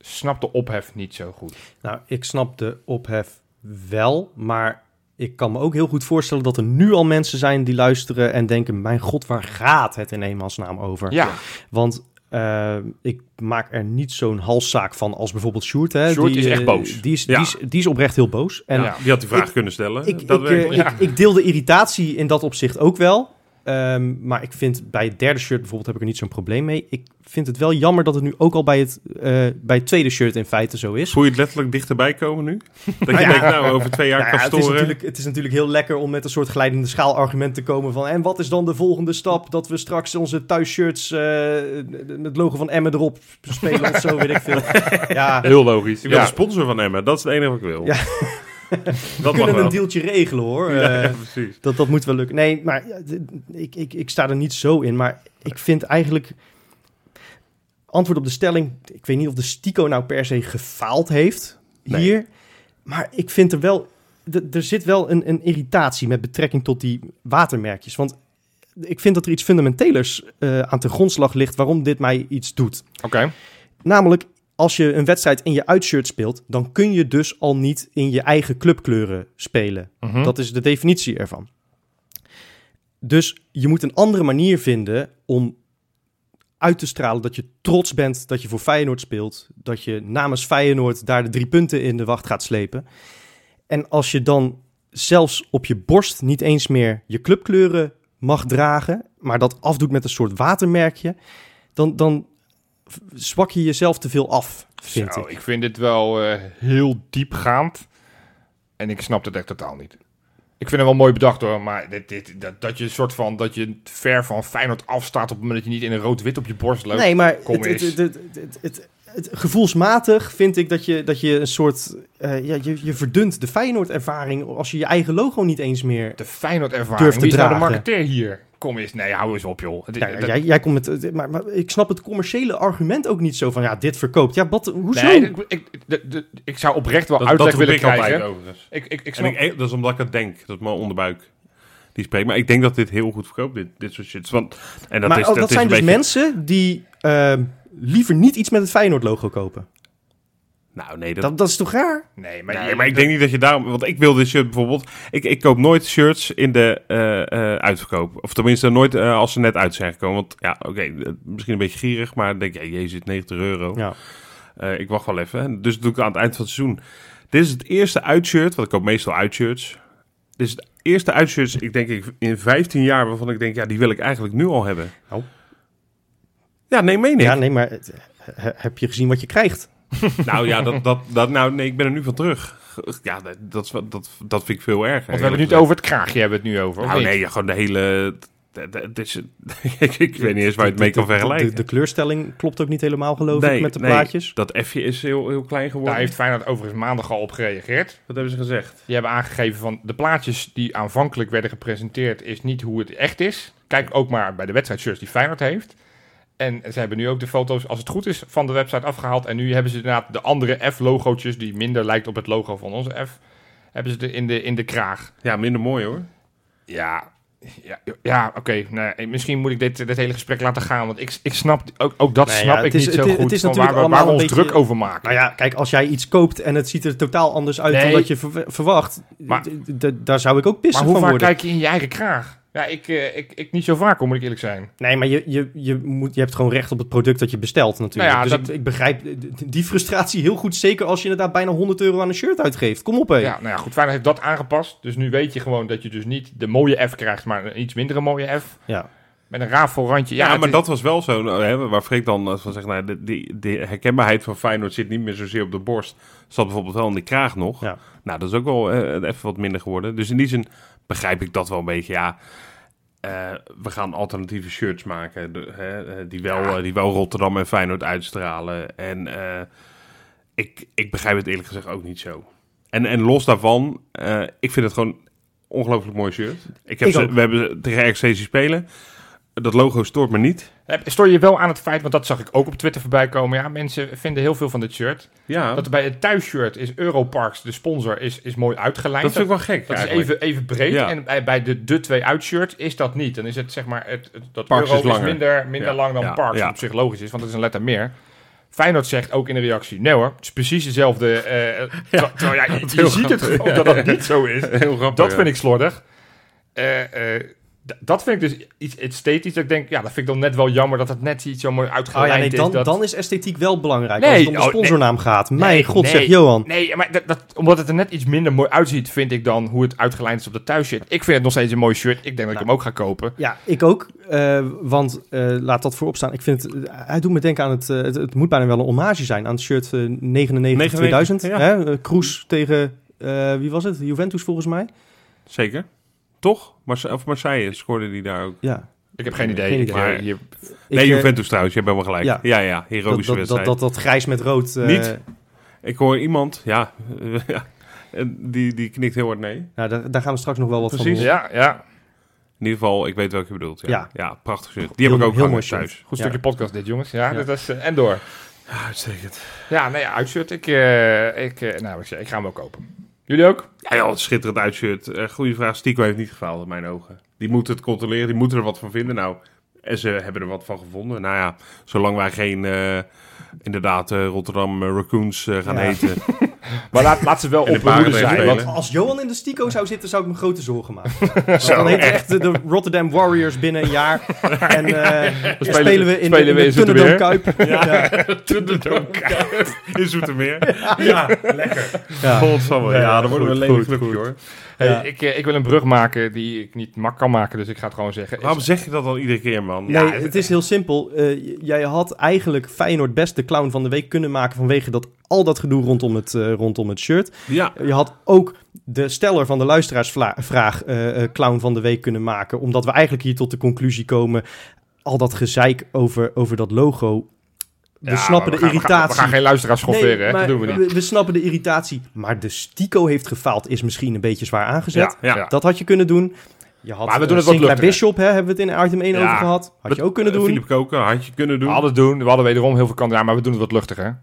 S1: snap de ophef niet zo goed.
S2: Nou, ik snap de ophef wel, maar ik kan me ook heel goed voorstellen dat er nu al mensen zijn die luisteren en denken: mijn god, waar gaat het in eenmansnaam over?
S1: Ja,
S2: Want eh, ik maak er niet zo'n halszaak van als bijvoorbeeld Sjoerd. Hè,
S1: Sjoerd is echt
S2: eh,
S1: boos.
S2: Die is,
S3: Ja.
S2: die, is, die is oprecht heel boos. En
S1: Ja.
S3: die had die vraag kunnen stellen.
S2: ik, ik,
S3: dat
S2: eh,
S3: werkt.
S1: ja.
S2: ik, ik deel de irritatie in dat opzicht ook wel. Ehm, maar ik vind bij het derde shirt bijvoorbeeld heb ik er niet zo'n probleem mee. Ik vind het wel jammer dat het nu ook al bij het, eh, bij het tweede shirt in feite zo is.
S3: Voel je het letterlijk dichterbij komen nu? Dat je
S2: Ja.
S3: denkt, nou, over twee jaar
S2: Nou ja,
S3: kan
S2: het, is
S3: storen.
S2: natuurlijk, het is natuurlijk heel lekker om met een soort glijdende schaal argument te komen van... en wat is dan de volgende stap? Dat we straks onze thuisshirts eh het logo van Emmen erop spelen of zo, weet ik veel. Ja,
S1: Heel logisch.
S3: Ik wil
S1: Ja.
S3: de sponsor van Emmen. Dat is het enige wat ik wil.
S2: Ja.
S3: dat
S2: we
S3: mag
S2: kunnen
S3: wel.
S2: een deeltje regelen hoor.
S3: Ja,
S2: Eh,
S3: precies.
S2: dat, dat moet wel lukken. Nee, maar ja, d- ik, ik, ik sta er niet zo in. Maar ik vind eigenlijk... Antwoord op de stelling... Ik weet niet of de Stico nou per se gefaald heeft
S3: Nee.
S2: hier. Maar ik vind er wel... d- Er zit wel een, een irritatie met betrekking tot die watermerkjes. Want ik vind dat er iets fundamentelers eh, aan ten grondslag ligt... waarom dit mij iets doet.
S1: Oké.
S2: Namelijk, als je een wedstrijd in je uitshirt speelt, dan kun je dus al niet in je eigen clubkleuren spelen.
S1: Mhm.
S2: Dat is de definitie ervan. Dus je moet een andere manier vinden om uit te stralen dat je trots bent dat je voor Feyenoord speelt. Dat je namens Feyenoord daar de drie punten in de wacht gaat slepen. En als je dan zelfs op je borst niet eens meer je clubkleuren mag dragen, maar dat afdoet met een soort watermerkje, dan, dan v- zwak je jezelf te veel af, vind
S1: Zo,
S2: ik.
S1: ik. vind dit wel eh, heel diepgaand. En ik snap het echt totaal niet. Ik vind het wel mooi bedacht hoor, maar dit, dit, dat, dat je een soort van dat je ver van Feyenoord afstaat op het moment dat je niet in een rood-wit op je borst loopt.
S2: Nee, maar
S1: Kom
S2: het, het,
S1: eens.
S2: het, het, het, het- het- gevoelsmatig vind ik dat je, dat je een soort... eh, ja, je, je verdunt de Feyenoord-ervaring als je je eigen logo niet eens meer...
S1: De Feyenoord ervaring.
S2: Durf te
S1: Wie is nou de
S2: dragen.
S1: marketeer hier? Kom eens, nee, hou eens op joh. Het is-
S2: Ja, ja,
S1: dat-
S2: jij, jij komt met... eh, Maar, maar ik snap het commerciële argument ook niet zo van... Ja, dit verkoopt. Ja, wat, hoezo?
S1: nee, ik, ik, de- de- ik zou oprecht wel
S3: Dat,
S1: uitleg
S3: dat roep
S1: willen
S3: ik altijd
S1: krijgen.
S3: overigens.
S1: Ik, ik, ik
S3: En
S1: snap
S3: ik, eh, dat is omdat ik het denk. Dat is mijn onderbuik. Die spreekt. Maar ik denk dat dit heel goed verkoopt, dit, dit soort shit. Want, en dat
S2: maar
S3: is,
S2: oh, dat,
S3: is
S2: zijn
S3: een
S2: dus
S3: beetje-
S2: mensen die ehm, liever niet iets met het Feyenoord-logo kopen.
S3: Nou, nee, dat,
S2: Dat, dat is toch raar?
S1: Nee, maar,
S3: Nee,
S1: je-
S3: maar ik denk niet dat je daarom... Want ik wil dit shirt bijvoorbeeld... Ik, ik koop nooit shirts in de eh, eh, uitverkoop. Of tenminste, nooit eh, als ze net uit zijn gekomen. Want ja, oké, eh, misschien een beetje gierig. Maar dan denk je, ja, jezus, 90 euro.
S2: Ja.
S3: Eh, ik wacht wel even. Dus dat doe ik aan het eind van het seizoen. Dit is het eerste uitshirt, want ik koop meestal uitshirts. Dit is het eerste uitshirt, ik denk ik, in 15 jaar... waarvan ik denk, ja, die wil ik eigenlijk nu al hebben.
S2: Nou.
S3: Ja, nee, meen ik.
S2: Ja, nee, maar het- he- heb je gezien wat je krijgt?
S3: Nou ja, dat, dat, dat, nou, nee, ik ben er nu van terug. Ja, dat, dat, is wat- dat, dat vind ik veel erger.
S1: want we hebben het nu
S3: eerlijk
S1: over het kraagje, hebben we het nu over. of
S3: Nou
S1: niet?
S3: nee, ja, gewoon de hele... d- d- Het is, ik, ik weet niet eens waar je het mee kan
S2: De- de-
S3: vergelijken.
S2: De, de kleurstelling klopt ook niet helemaal, geloof
S3: Nee,
S2: ik, met de
S3: nee,
S2: plaatjes.
S3: Dat F'je is heel, heel klein geworden.
S1: Daar heeft Feyenoord overigens maandag al op gereageerd.
S3: Wat hebben ze gezegd?
S1: Die hebben aangegeven van de plaatjes die aanvankelijk werden gepresenteerd is niet hoe het echt is. Kijk ook maar bij de wedstrijdshirts die Feyenoord heeft. En ze hebben nu ook de foto's, als het goed is, van de website afgehaald. En nu hebben ze inderdaad de andere F-logootjes, die minder lijkt op het logo van onze F, hebben ze er in de, in de kraag.
S3: Ja, minder mooi hoor.
S1: Ja, ja, ja oké. Nou, ja, misschien moet ik dit, dit hele gesprek laten gaan, want ik, ik snap, ook, ook dat
S2: Nee, ja,
S1: snap
S2: het
S1: ik
S2: is-
S1: niet
S2: het
S1: zo
S2: is-
S1: goed,
S2: het is
S1: van
S2: natuurlijk
S1: waar, we- waar we
S2: allemaal
S1: ons
S2: een beetje-
S1: druk over maken.
S2: Nou ja, kijk, als jij iets koopt en het ziet er totaal anders uit
S1: Nee.
S2: dan dat je verw- verwacht,
S1: Maar-
S2: d- d- daar zou ik ook pissig
S1: maar hoe
S2: van
S1: vaak
S2: worden.
S1: kijk je in je eigen kraag? Ja, ik, eh, ik, ik niet zo vaak, hoor, moet ik eerlijk zijn.
S2: Nee, maar je, je, je, moet, je hebt gewoon recht op het product dat je bestelt natuurlijk.
S1: Nou ja,
S2: dus
S1: dat-
S2: ik, ik begrijp d- die frustratie heel goed, zeker als je inderdaad bijna 100 euro aan een shirt uitgeeft. Kom op, hé.
S1: Ja, nou ja, goed, Feyenoord heeft dat aangepast. Dus nu weet je gewoon dat je dus niet de mooie F krijgt, maar een iets mindere mooie F.
S2: Ja.
S1: Met een rafelrandje.
S3: Ja,
S1: Ja, het
S3: maar
S1: is-
S3: dat was wel zo, nou, hè, waar Freek dan eh, van zegt, nou, de, die, de herkenbaarheid van Feyenoord zit niet meer zozeer op de borst. Zat bijvoorbeeld wel in de kraag nog.
S2: Ja.
S3: Nou, dat is ook wel eh, even wat minder geworden. Dus in die zin begrijp ik dat wel een beetje, ja. eh, we gaan alternatieve shirts maken de- hè, eh, die, wel, eh, die wel Rotterdam en Feyenoord uitstralen. En eh, ik, ik begrijp het eerlijk gezegd ook niet zo. En, en los daarvan, eh, ik vind het gewoon ongelooflijk mooi shirt. Ik heb
S2: Ik
S3: ze,
S2: ook.
S3: we hebben ze tegen RXC zien spelen. Dat logo stoort me niet.
S1: Heb- Stoor je wel aan het feit, want dat zag ik ook op Twitter voorbij komen. Ja, mensen vinden heel veel van dit shirt.
S3: Ja,
S1: Dat bij het thuisshirt is Europarks, de sponsor, is, is mooi uitgelijnd.
S3: dat vind ik wel gek.
S1: Dat is
S3: eigenlijk.
S1: even, even breed.
S3: Ja.
S1: En bij, bij de, de twee uitshirt is dat niet. Dan is het zeg maar, het, het- dat
S3: Parks
S1: euro
S3: is
S1: is,
S3: langer.
S1: minder, minder
S3: Ja.
S1: lang dan
S3: Ja.
S1: Parks.
S3: Ja.
S1: Wat op zich logisch is, want het is een letter meer. Feyenoord zegt ook in de reactie, nee hoor, het is precies dezelfde. eh, terwijl- terwijl ja, je- je
S3: heel
S1: ziet het
S3: grappig. Oh,
S1: gewoon dat dat niet zo is.
S3: heel grappig.
S1: Dat
S3: ja.
S1: vind ik slordig. Eh, eh, D- dat vind ik dus iets esthetisch. Dat ik denk, ja, dat vind ik dan net wel jammer dat het net iets zo mooi
S2: Oh
S1: uitgeleid
S2: ja, nee, dan,
S1: is. Dat...
S2: dan is esthetiek wel belangrijk.
S1: Nee,
S2: als het om de
S1: oh, nee.
S2: sponsornaam gaat.
S1: Nee,
S2: Mijn god,
S1: nee.
S2: zegt Johan.
S1: Nee, maar dat, dat- omdat het er net iets minder mooi uitziet, vind ik dan hoe het uitgelijnd is op de thuisshirt. Ik vind het nog steeds een mooi shirt. Ik denk dat ik
S2: Nou.
S1: hem ook ga kopen.
S2: Ja, ik ook. eh, want eh, laat dat voorop staan. Ik vind het, hij doet me denken aan het, eh, het. Het moet bijna wel een hommage zijn aan het shirt eh, 99-2000.
S3: 99, ja.
S2: eh, Kroes tegen. eh, wie was het? Juventus volgens mij.
S3: Zeker. Toch? Marse of Marseille scoorde die daar ook.
S2: Ja.
S1: Ik heb geen
S2: Nee,
S1: idee.
S2: geen
S1: Ik,
S2: idee.
S1: eh, hier-
S3: Nee,
S2: Ik, eh,
S3: Juventus trouwens, je hebt helemaal gelijk.
S2: Ja.
S3: Ja, ja,
S2: dat,
S3: heroïsche
S2: dat, dat,
S3: wedstrijd.
S2: dat, dat grijs met rood. eh,
S3: Niet? Ik hoor iemand, ja, ja, en die, die knikt heel hard nee.
S2: Nou, daar, daar gaan we straks nog wel wat
S3: Precies.
S2: van horen.
S1: ja, ja.
S3: In ieder geval, ik weet welke je bedoelt. Ja,
S2: Ja.
S3: ja. prachtig shirt. Die heb
S2: Heel-
S3: ik ook
S2: heel
S3: hangen
S2: mooi shirt.
S3: thuis.
S1: Goed
S2: Ja.
S1: stukje podcast dit, jongens. Ja,
S2: Ja.
S1: dat is... eh, en door.
S3: Uitstekend.
S1: Ja, nee, ja, uitshirt. Ik, eh, ik, eh, nou, ik, zeg, ik ga hem wel kopen. Jullie ook?
S3: Ja, joh, het schitterend uitshirt. Eh goede vraag. Stico heeft niet gefaald in mijn ogen. Die moeten het controleren, die moeten er wat van vinden. Nou, en ze hebben er wat van gevonden. Nou ja, zolang wij geen, eh, inderdaad, eh, Rotterdam eh, Raccoons eh, gaan
S2: Ja.
S3: heten.
S1: Maar laat, laat ze wel
S3: En
S1: op
S3: de
S1: hun hoede
S3: paarden
S1: zijn.
S3: spelen.
S1: want-
S2: Als Johan in de Stico zou zitten, zou ik me grote zorgen maken. Want dan heet echt de, de Rotterdam Warriors binnen een jaar. En eh,
S1: spelen-
S2: spelen we in de,
S1: spelen
S2: in
S1: we
S2: de
S1: in Zoetermeer.
S2: Tunnedome Kuip. Ja.
S3: In Zoetermeer.
S2: Ja, lekker. Ja.
S3: Godsamme. Ja, dan worden we een
S1: Goed,
S3: lelijk
S1: goed,
S3: clubje, hoor.
S1: Hey,
S2: Ja.
S1: ik, eh, ik wil een brug maken die ik niet mak kan maken, dus ik ga het gewoon zeggen.
S3: Waarom zeg je dat dan iedere keer, man?
S2: Nee, het is heel simpel. Eh, j- jij had eigenlijk Feyenoord best de clown van de week kunnen maken vanwege dat, al dat gedoe rondom het, eh, rondom het shirt.
S3: Ja,
S2: Je had ook de steller van de luisteraarsvraag eh, eh, clown van de week kunnen maken. Omdat we eigenlijk hier tot de conclusie komen. Al dat gezeik over, over dat logo. We
S1: Ja,
S2: snappen
S1: maar
S2: de
S1: gaan- We gaan, we
S2: irritatie.
S1: gaan geen luisteraars schofferen,
S2: Nee,
S1: hè?
S2: maar
S1: dat doen we niet.
S2: we snappen de irritatie. Maar de stico heeft gefaald, is misschien een beetje zwaar aangezet.
S3: ja.
S2: Dat had je kunnen doen. Je had,
S1: Maar we
S2: eh,
S1: doen het wat
S2: Sinclair
S1: luchtiger.
S2: Bishop, hè, hebben we het in item 1
S1: Ja. eh,
S2: over gehad. Had je ook kunnen doen.
S3: eh, Filip Koken had je kunnen
S1: We
S3: doen.
S1: hadden het doen, we hadden wederom heel veel kandidaten, maar we doen het wat luchtiger.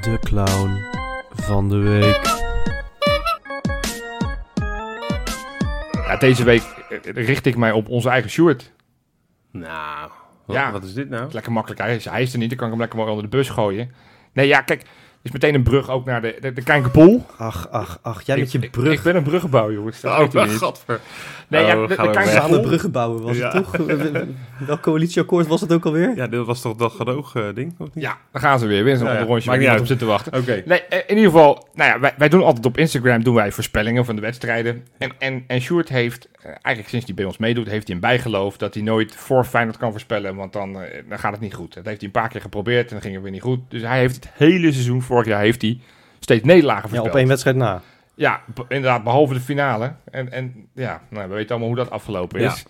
S2: De clown van de week.
S1: Ja, deze week eh, richt ik mij op onze eigen Sjoerd.
S3: Nou, wat,
S1: Ja.
S3: wat is dit nou?
S1: Lekker makkelijk. Hij is, hij is er niet, dan kan ik hem lekker mooi onder de bus gooien. Nee, ja, kijk, is meteen een brug ook naar de, de, de Kijkerpoel.
S2: Ach, ach, ach. Jij
S1: Ik-
S2: met je
S1: ik-
S2: brug.
S1: Ik, ben een bruggenbouw, jongens. Dat weet u niet.
S3: Oh, gadver.
S1: Nee,
S3: Oh,
S1: ja, de, de
S3: gaan we weg.
S1: Kijkerpoel-
S2: Samen bruggen bouwen was
S3: Ja.
S2: het toch? Welk coalitieakkoord was het ook alweer?
S3: Ja, dit was toch dat gedoog-ding, of niet?
S1: Ja, daar gaan ze weer. Weer zo'n
S3: Nou Ja, ja.
S1: ander rondje waar
S3: Maakt
S1: niemand
S3: niet
S1: op
S3: uit.
S1: zit te wachten.
S3: Oké.
S1: Nee, eh, in ieder geval, nou ja, wij, wij doen altijd op Instagram doen wij voorspellingen van de wedstrijden. En, en, en Sjoerd heeft, eh, eigenlijk sinds hij bij ons meedoet, heeft hij een bijgeloof dat hij nooit voor Feyenoord kan voorspellen, want dan, eh, dan gaat het niet goed. Dat heeft hij een paar keer geprobeerd en dan ging het weer niet goed. Dus hij heeft het hele seizoen, vorig jaar heeft hij steeds nederlagen
S2: Ja, op
S1: voorspeld.
S2: één wedstrijd na.
S1: Ja, b- inderdaad, behalve de finale. En, en ja, nou, we weten allemaal hoe dat afgelopen
S3: Ja.
S1: is.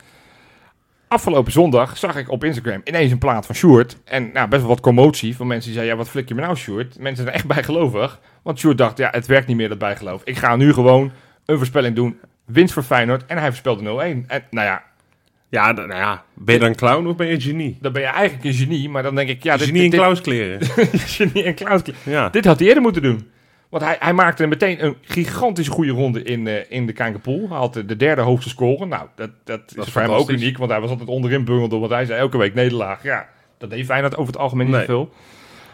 S1: Afgelopen zondag zag ik op Instagram ineens een plaat van Sjoerd. En nou, best wel wat commotie van mensen die zeiden... Ja, wat flik je me nou, Sjoerd? Mensen zijn echt bijgelovig. Want Sjoerd dacht, ja, het werkt niet meer, dat bijgeloof. Ik ga nu gewoon een voorspelling doen. Winst voor Feyenoord. En hij voorspelde 0-1. En nou ja,
S3: Ja, d- nou ja, ben je dan clown of ben je genie?
S1: dan ben je eigenlijk een genie. Maar dan denk ik, ja... dit-
S3: genie in
S1: dit-
S3: clownskleren.
S1: dit- genie en Klaus.
S3: ja.
S1: Dit had hij eerder moeten doen. Want hij, hij maakte meteen een gigantisch goede ronde in, eh, in de Kankerpool. Hij had de, de derde hoogste score. Nou, dat, dat, is voor hem ook
S3: fantastisch.
S1: uniek. Want hij was altijd onderin bungelde. Want hij zei elke week nederlaag. Ja, dat deed Feyenoord over het algemeen niet
S3: Nee.
S1: veel.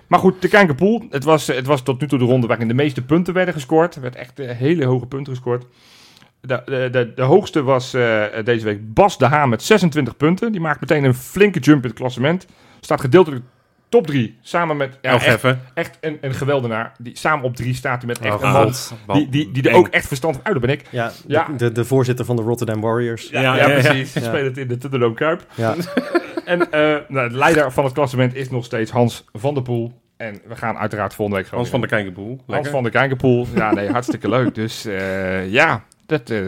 S1: Maar goed, de Kankerpool. Het was, eh, het was tot nu toe de ronde waarin de meeste punten werden gescoord. Er werd echt eh, hele hoge punten gescoord. De, de, de, de hoogste was eh, deze week Bas de Haan met 26 punten. Die maakt meteen een flinke jump in het klassement. Staat gedeeltelijk top 3 samen met...
S3: ja,
S1: Ja, echt-
S3: even.
S1: echt een, een geweldenaar. Die, samen op drie staat hij met echt
S3: Oh,
S1: een
S3: God.
S1: man. Die, die, die er
S3: Eng.
S1: ook echt verstand van... Oh, dat ben ik.
S2: Ja,
S1: Ja.
S2: De, de, de voorzitter van de Rotterdam Warriors.
S3: Ja, ja, ja.
S1: Ze
S2: Ja.
S1: spelen het in de Tuddeloom Kuip.
S2: Ja.
S1: En eh, nou, de leider van het klassement is nog steeds Hans van der Poel. En we gaan uiteraard volgende week gewoon...
S3: Hans van
S1: weer-
S3: der Kijkenboel.
S1: Hans van der Kijkenpoel. Ja, nee, hartstikke leuk. Dus eh, ja, dat... eh,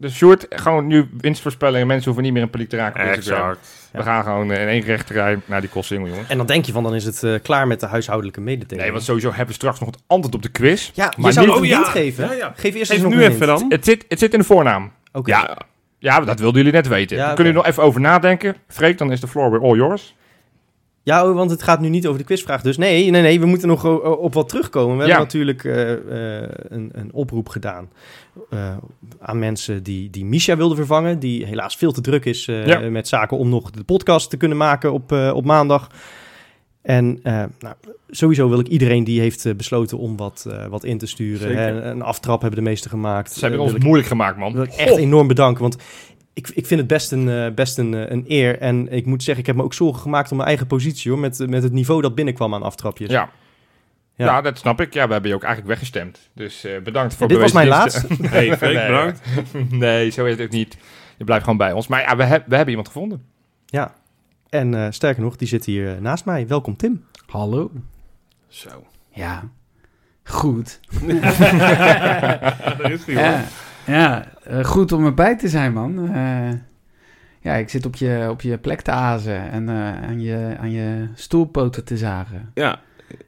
S1: dus short, gewoon nu winstvoorspellingen. Mensen hoeven niet meer in paniek te raken. op Instagram.
S3: Exact.
S1: We gaan gewoon eh, in één rechterrij naar die kostsingel, jongen.
S2: En dan denk je van, dan is het eh, klaar met de huishoudelijke mededeling.
S1: Nee, want sowieso hebben we straks nog het antwoord op de quiz.
S2: Ja, je
S1: maar
S2: zou
S1: niet-
S2: het een
S3: Oh, ja.
S2: hint geven.
S3: Ja, ja.
S2: Geef eerst
S3: Geef
S2: eens nog
S3: nu
S2: een
S3: even
S2: hint.
S3: dan.
S1: Het zit, het zit in de voornaam.
S2: Oké.
S1: Ja, ja, dat wilden jullie net weten.
S2: Ja,
S1: Dan
S2: oké.
S1: Kunnen jullie nog even over nadenken? Freek, dan is de floor weer all yours.
S2: Ja, oh, want het gaat nu niet over de quizvraag. Dus nee, nee, nee, we moeten nog o- op wat terugkomen. We
S1: Ja.
S2: hebben natuurlijk eh, eh, een, een oproep gedaan eh, aan mensen die, die Misha wilden vervangen. Die helaas veel te druk is eh,
S1: Ja.
S2: met zaken om nog de podcast te kunnen maken op, eh, op maandag. Eh, En eh, nou, sowieso wil ik iedereen die heeft eh, besloten om wat, eh, wat in te sturen.
S3: Zeker.
S2: Hè, een aftrap hebben de meesten gemaakt.
S1: Ze hebben
S2: Eh,
S1: ons
S2: wil ik-
S1: moeilijk gemaakt, man.
S2: wil ik
S1: Goh.
S2: echt enorm bedanken. Want ik, ik vind het best, een, eh, best een, eh, een eer. En ik moet zeggen, ik heb me ook zorgen gemaakt om mijn eigen positie hoor. Met, eh, met het niveau dat binnenkwam aan aftrapjes.
S1: Ja.
S2: Ja.
S1: Ja. dat snap ik. Ja, we hebben je ook eigenlijk weggestemd. Dus eh, bedankt voor
S2: En dit was mijn
S1: bewezen
S2: laatste.
S1: diensten.
S3: Hey, Freek,
S1: Nee.
S3: bedankt.
S1: nee, zo is het ook niet. Je blijft gewoon bij ons. Maar ja, we, heb- we hebben iemand gevonden.
S2: Ja. En eh, sterker nog, die zit hier eh, naast mij. Welkom Tim.
S4: Hallo?
S3: Zo.
S4: Ja. Goed.
S3: Daar is die, hoor.
S4: Ja, ja eh, goed om erbij te zijn, man. Eh, ja, ik zit op je, op je plek te azen en eh, aan, je, aan je stoelpoten te zagen.
S3: Ja.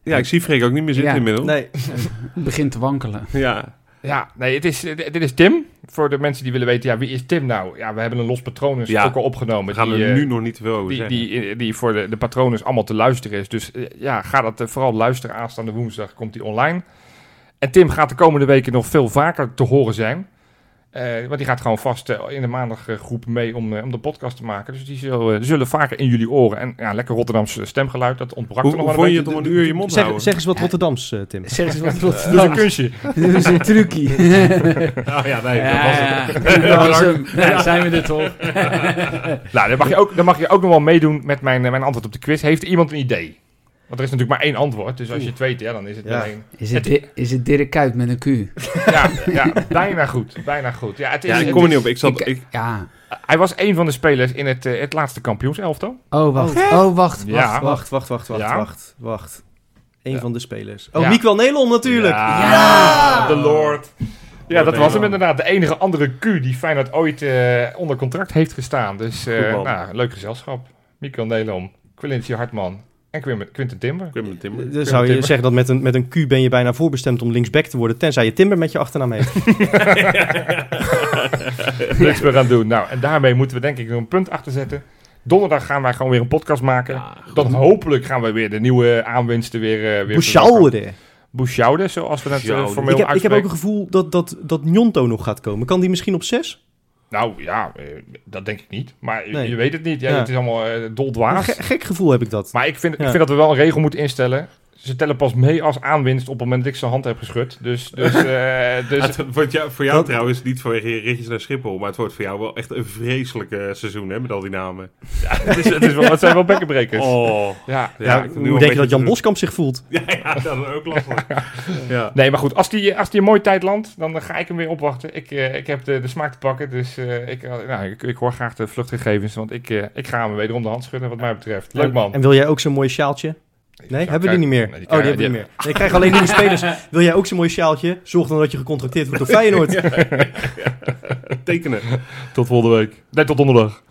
S3: ja, ik zie Freek ook niet meer zitten
S4: Ja.
S3: inmiddels.
S2: Nee,
S4: Het begint te wankelen.
S3: Ja.
S1: Ja, nee, het is, eh, dit is Tim. Voor de mensen die willen weten, ja, wie is Tim nou? Ja, we hebben een los patronus
S3: Ja.
S1: ook al opgenomen.
S3: We gaan
S1: die,
S3: er
S1: eh,
S3: nu nog niet te veel over
S1: die,
S3: zeggen.
S1: die, eh, die voor de, de patronus allemaal te luisteren is. Dus eh, ja, ga dat eh, vooral luisteren. Aanstaande woensdag komt die online. En Tim gaat de komende weken nog veel vaker te horen zijn. Eh, want die gaat gewoon vast eh, in de maandaggroep groep mee om, eh, om de podcast te maken. Dus die zullen, zullen vaker in jullie oren. En ja, lekker Rotterdamse stemgeluid, dat ontbrak
S3: Hoe,
S1: er nog
S3: hoe
S1: wel
S3: vond
S1: een
S3: je het
S1: beetje.
S3: om een uur je mond te
S2: zeg,
S3: houden?
S2: zeg eens wat Rotterdams eh, Tim.
S4: Zeg eens wat wat
S1: Dus een
S4: dan.
S1: kunstje.
S4: Dit is een trucje.
S3: Ah, ja, nee, dat was het.
S4: Ja, dat was hem. Ja, zijn we er toch?
S1: Nou, dan mag, je ook, dan mag je ook nog wel meedoen met mijn, eh, mijn antwoord op de quiz. Heeft iemand een idee? Want er is natuurlijk maar één antwoord. Dus als je het weet, ja, dan is het
S2: Ja.
S1: meteen...
S4: Is het, Di- is het Dirk Kuyt met een Q?
S1: Ja, ja, bijna goed. Bijna goed. Ja, het is,
S3: Ja, ik
S1: het
S3: kom er
S1: is-
S3: niet op. Ik zat,
S4: Ik-
S3: ik,
S4: Ja.
S1: Hij was een van de spelers in het, eh, het laatste kampioenselftal.
S4: Oh, wacht. Oh, wacht.
S1: Ja.
S4: wacht, wacht.
S2: Wacht, wacht, wacht, wacht,
S1: Ja.
S2: wacht, wacht. Eén
S1: Ja.
S2: van de spelers. Oh,
S1: Ja.
S2: Miguel Nelon natuurlijk.
S1: Ja.
S3: De Lord.
S1: Ja, dat was hem inderdaad. De enige andere Q die Feyenoord ooit eh, onder contract heeft gestaan. Dus eh,
S3: Goed man.
S1: nou, leuk gezelschap. Mikael Nelom, Quincy Hartman en Quim- Quinten Timber.
S3: Ik ben met Timmer.
S2: Eh, Dan zou je
S1: Timber.
S2: zeggen dat met een, met een Q ben je bijna voorbestemd om linksback te worden, tenzij je Timber met je achternaam heet.
S1: Niks meer aan doen. Nou, en daarmee moeten we denk ik nog een punt achter zetten. Donderdag gaan wij gewoon weer een podcast maken. Dan hopelijk gaan we weer de nieuwe aanwinsten weer... eh, weer verwelkomen.
S2: Bouchaude.
S1: Boeshoude, zoals we het eh,
S3: Boeshoude.
S1: formeel
S2: Ik heb, ik heb
S1: uitspreken.
S2: ook een gevoel dat, dat, dat Njonto nog gaat komen. Kan die misschien op zes?
S1: Nou ja, eh, dat denk ik niet. Maar je-
S2: Nee.
S1: je weet het niet. Ja,
S2: Ja.
S1: Het is allemaal eh
S2: Een
S1: doldwaas.
S2: ge- gek gevoel heb ik dat.
S1: Maar ik vind,
S2: Ja.
S1: ik vind dat we wel een regel moeten instellen. Ze tellen pas mee als aanwinst op het moment dat ik zijn hand heb geschud. Dus, dus, eh, dus
S3: Het wordt jou, voor jou
S2: Dat-
S3: trouwens niet voor ritjes naar Schiphol, maar het wordt voor jou wel echt een vreselijk eh, seizoen hè, met al die namen.
S1: het, is, het, is wel, het zijn wel bekkenbrekers.
S3: Oh.
S1: Ja.
S3: Ja,
S2: ja,
S3: ik doe
S2: hoe
S3: wel een
S2: denk je
S3: beetje
S2: dat Jan
S3: te-
S2: Boskamp zich voelt?
S3: Ja, ja, dat is ook lastig. ja.
S1: Nee, maar goed. Als die, eh, als die een mooi tijd landt, dan eh, ga ik hem weer opwachten. Ik, eh, ik heb de, de smaak te pakken. Dus eh, ik, eh, nou, ik, ik hoor graag de vluchtgegevens. Want ik, eh, ik ga hem wederom de hand schudden, wat mij betreft. Leuk man.
S2: En wil jij ook zo'n mooi sjaaltje? Nee, hebben we die niet meer?
S1: Nee, die
S2: oh, die
S1: krijgen-
S2: hebben we niet
S1: die-
S2: meer. Nee, ik krijg alleen nieuwe spelers. Wil jij ook zo'n mooi sjaaltje? Zorg dan dat je gecontracteerd wordt door Feyenoord.
S3: Tekenen.
S1: Tot volgende week. Nee, tot donderdag.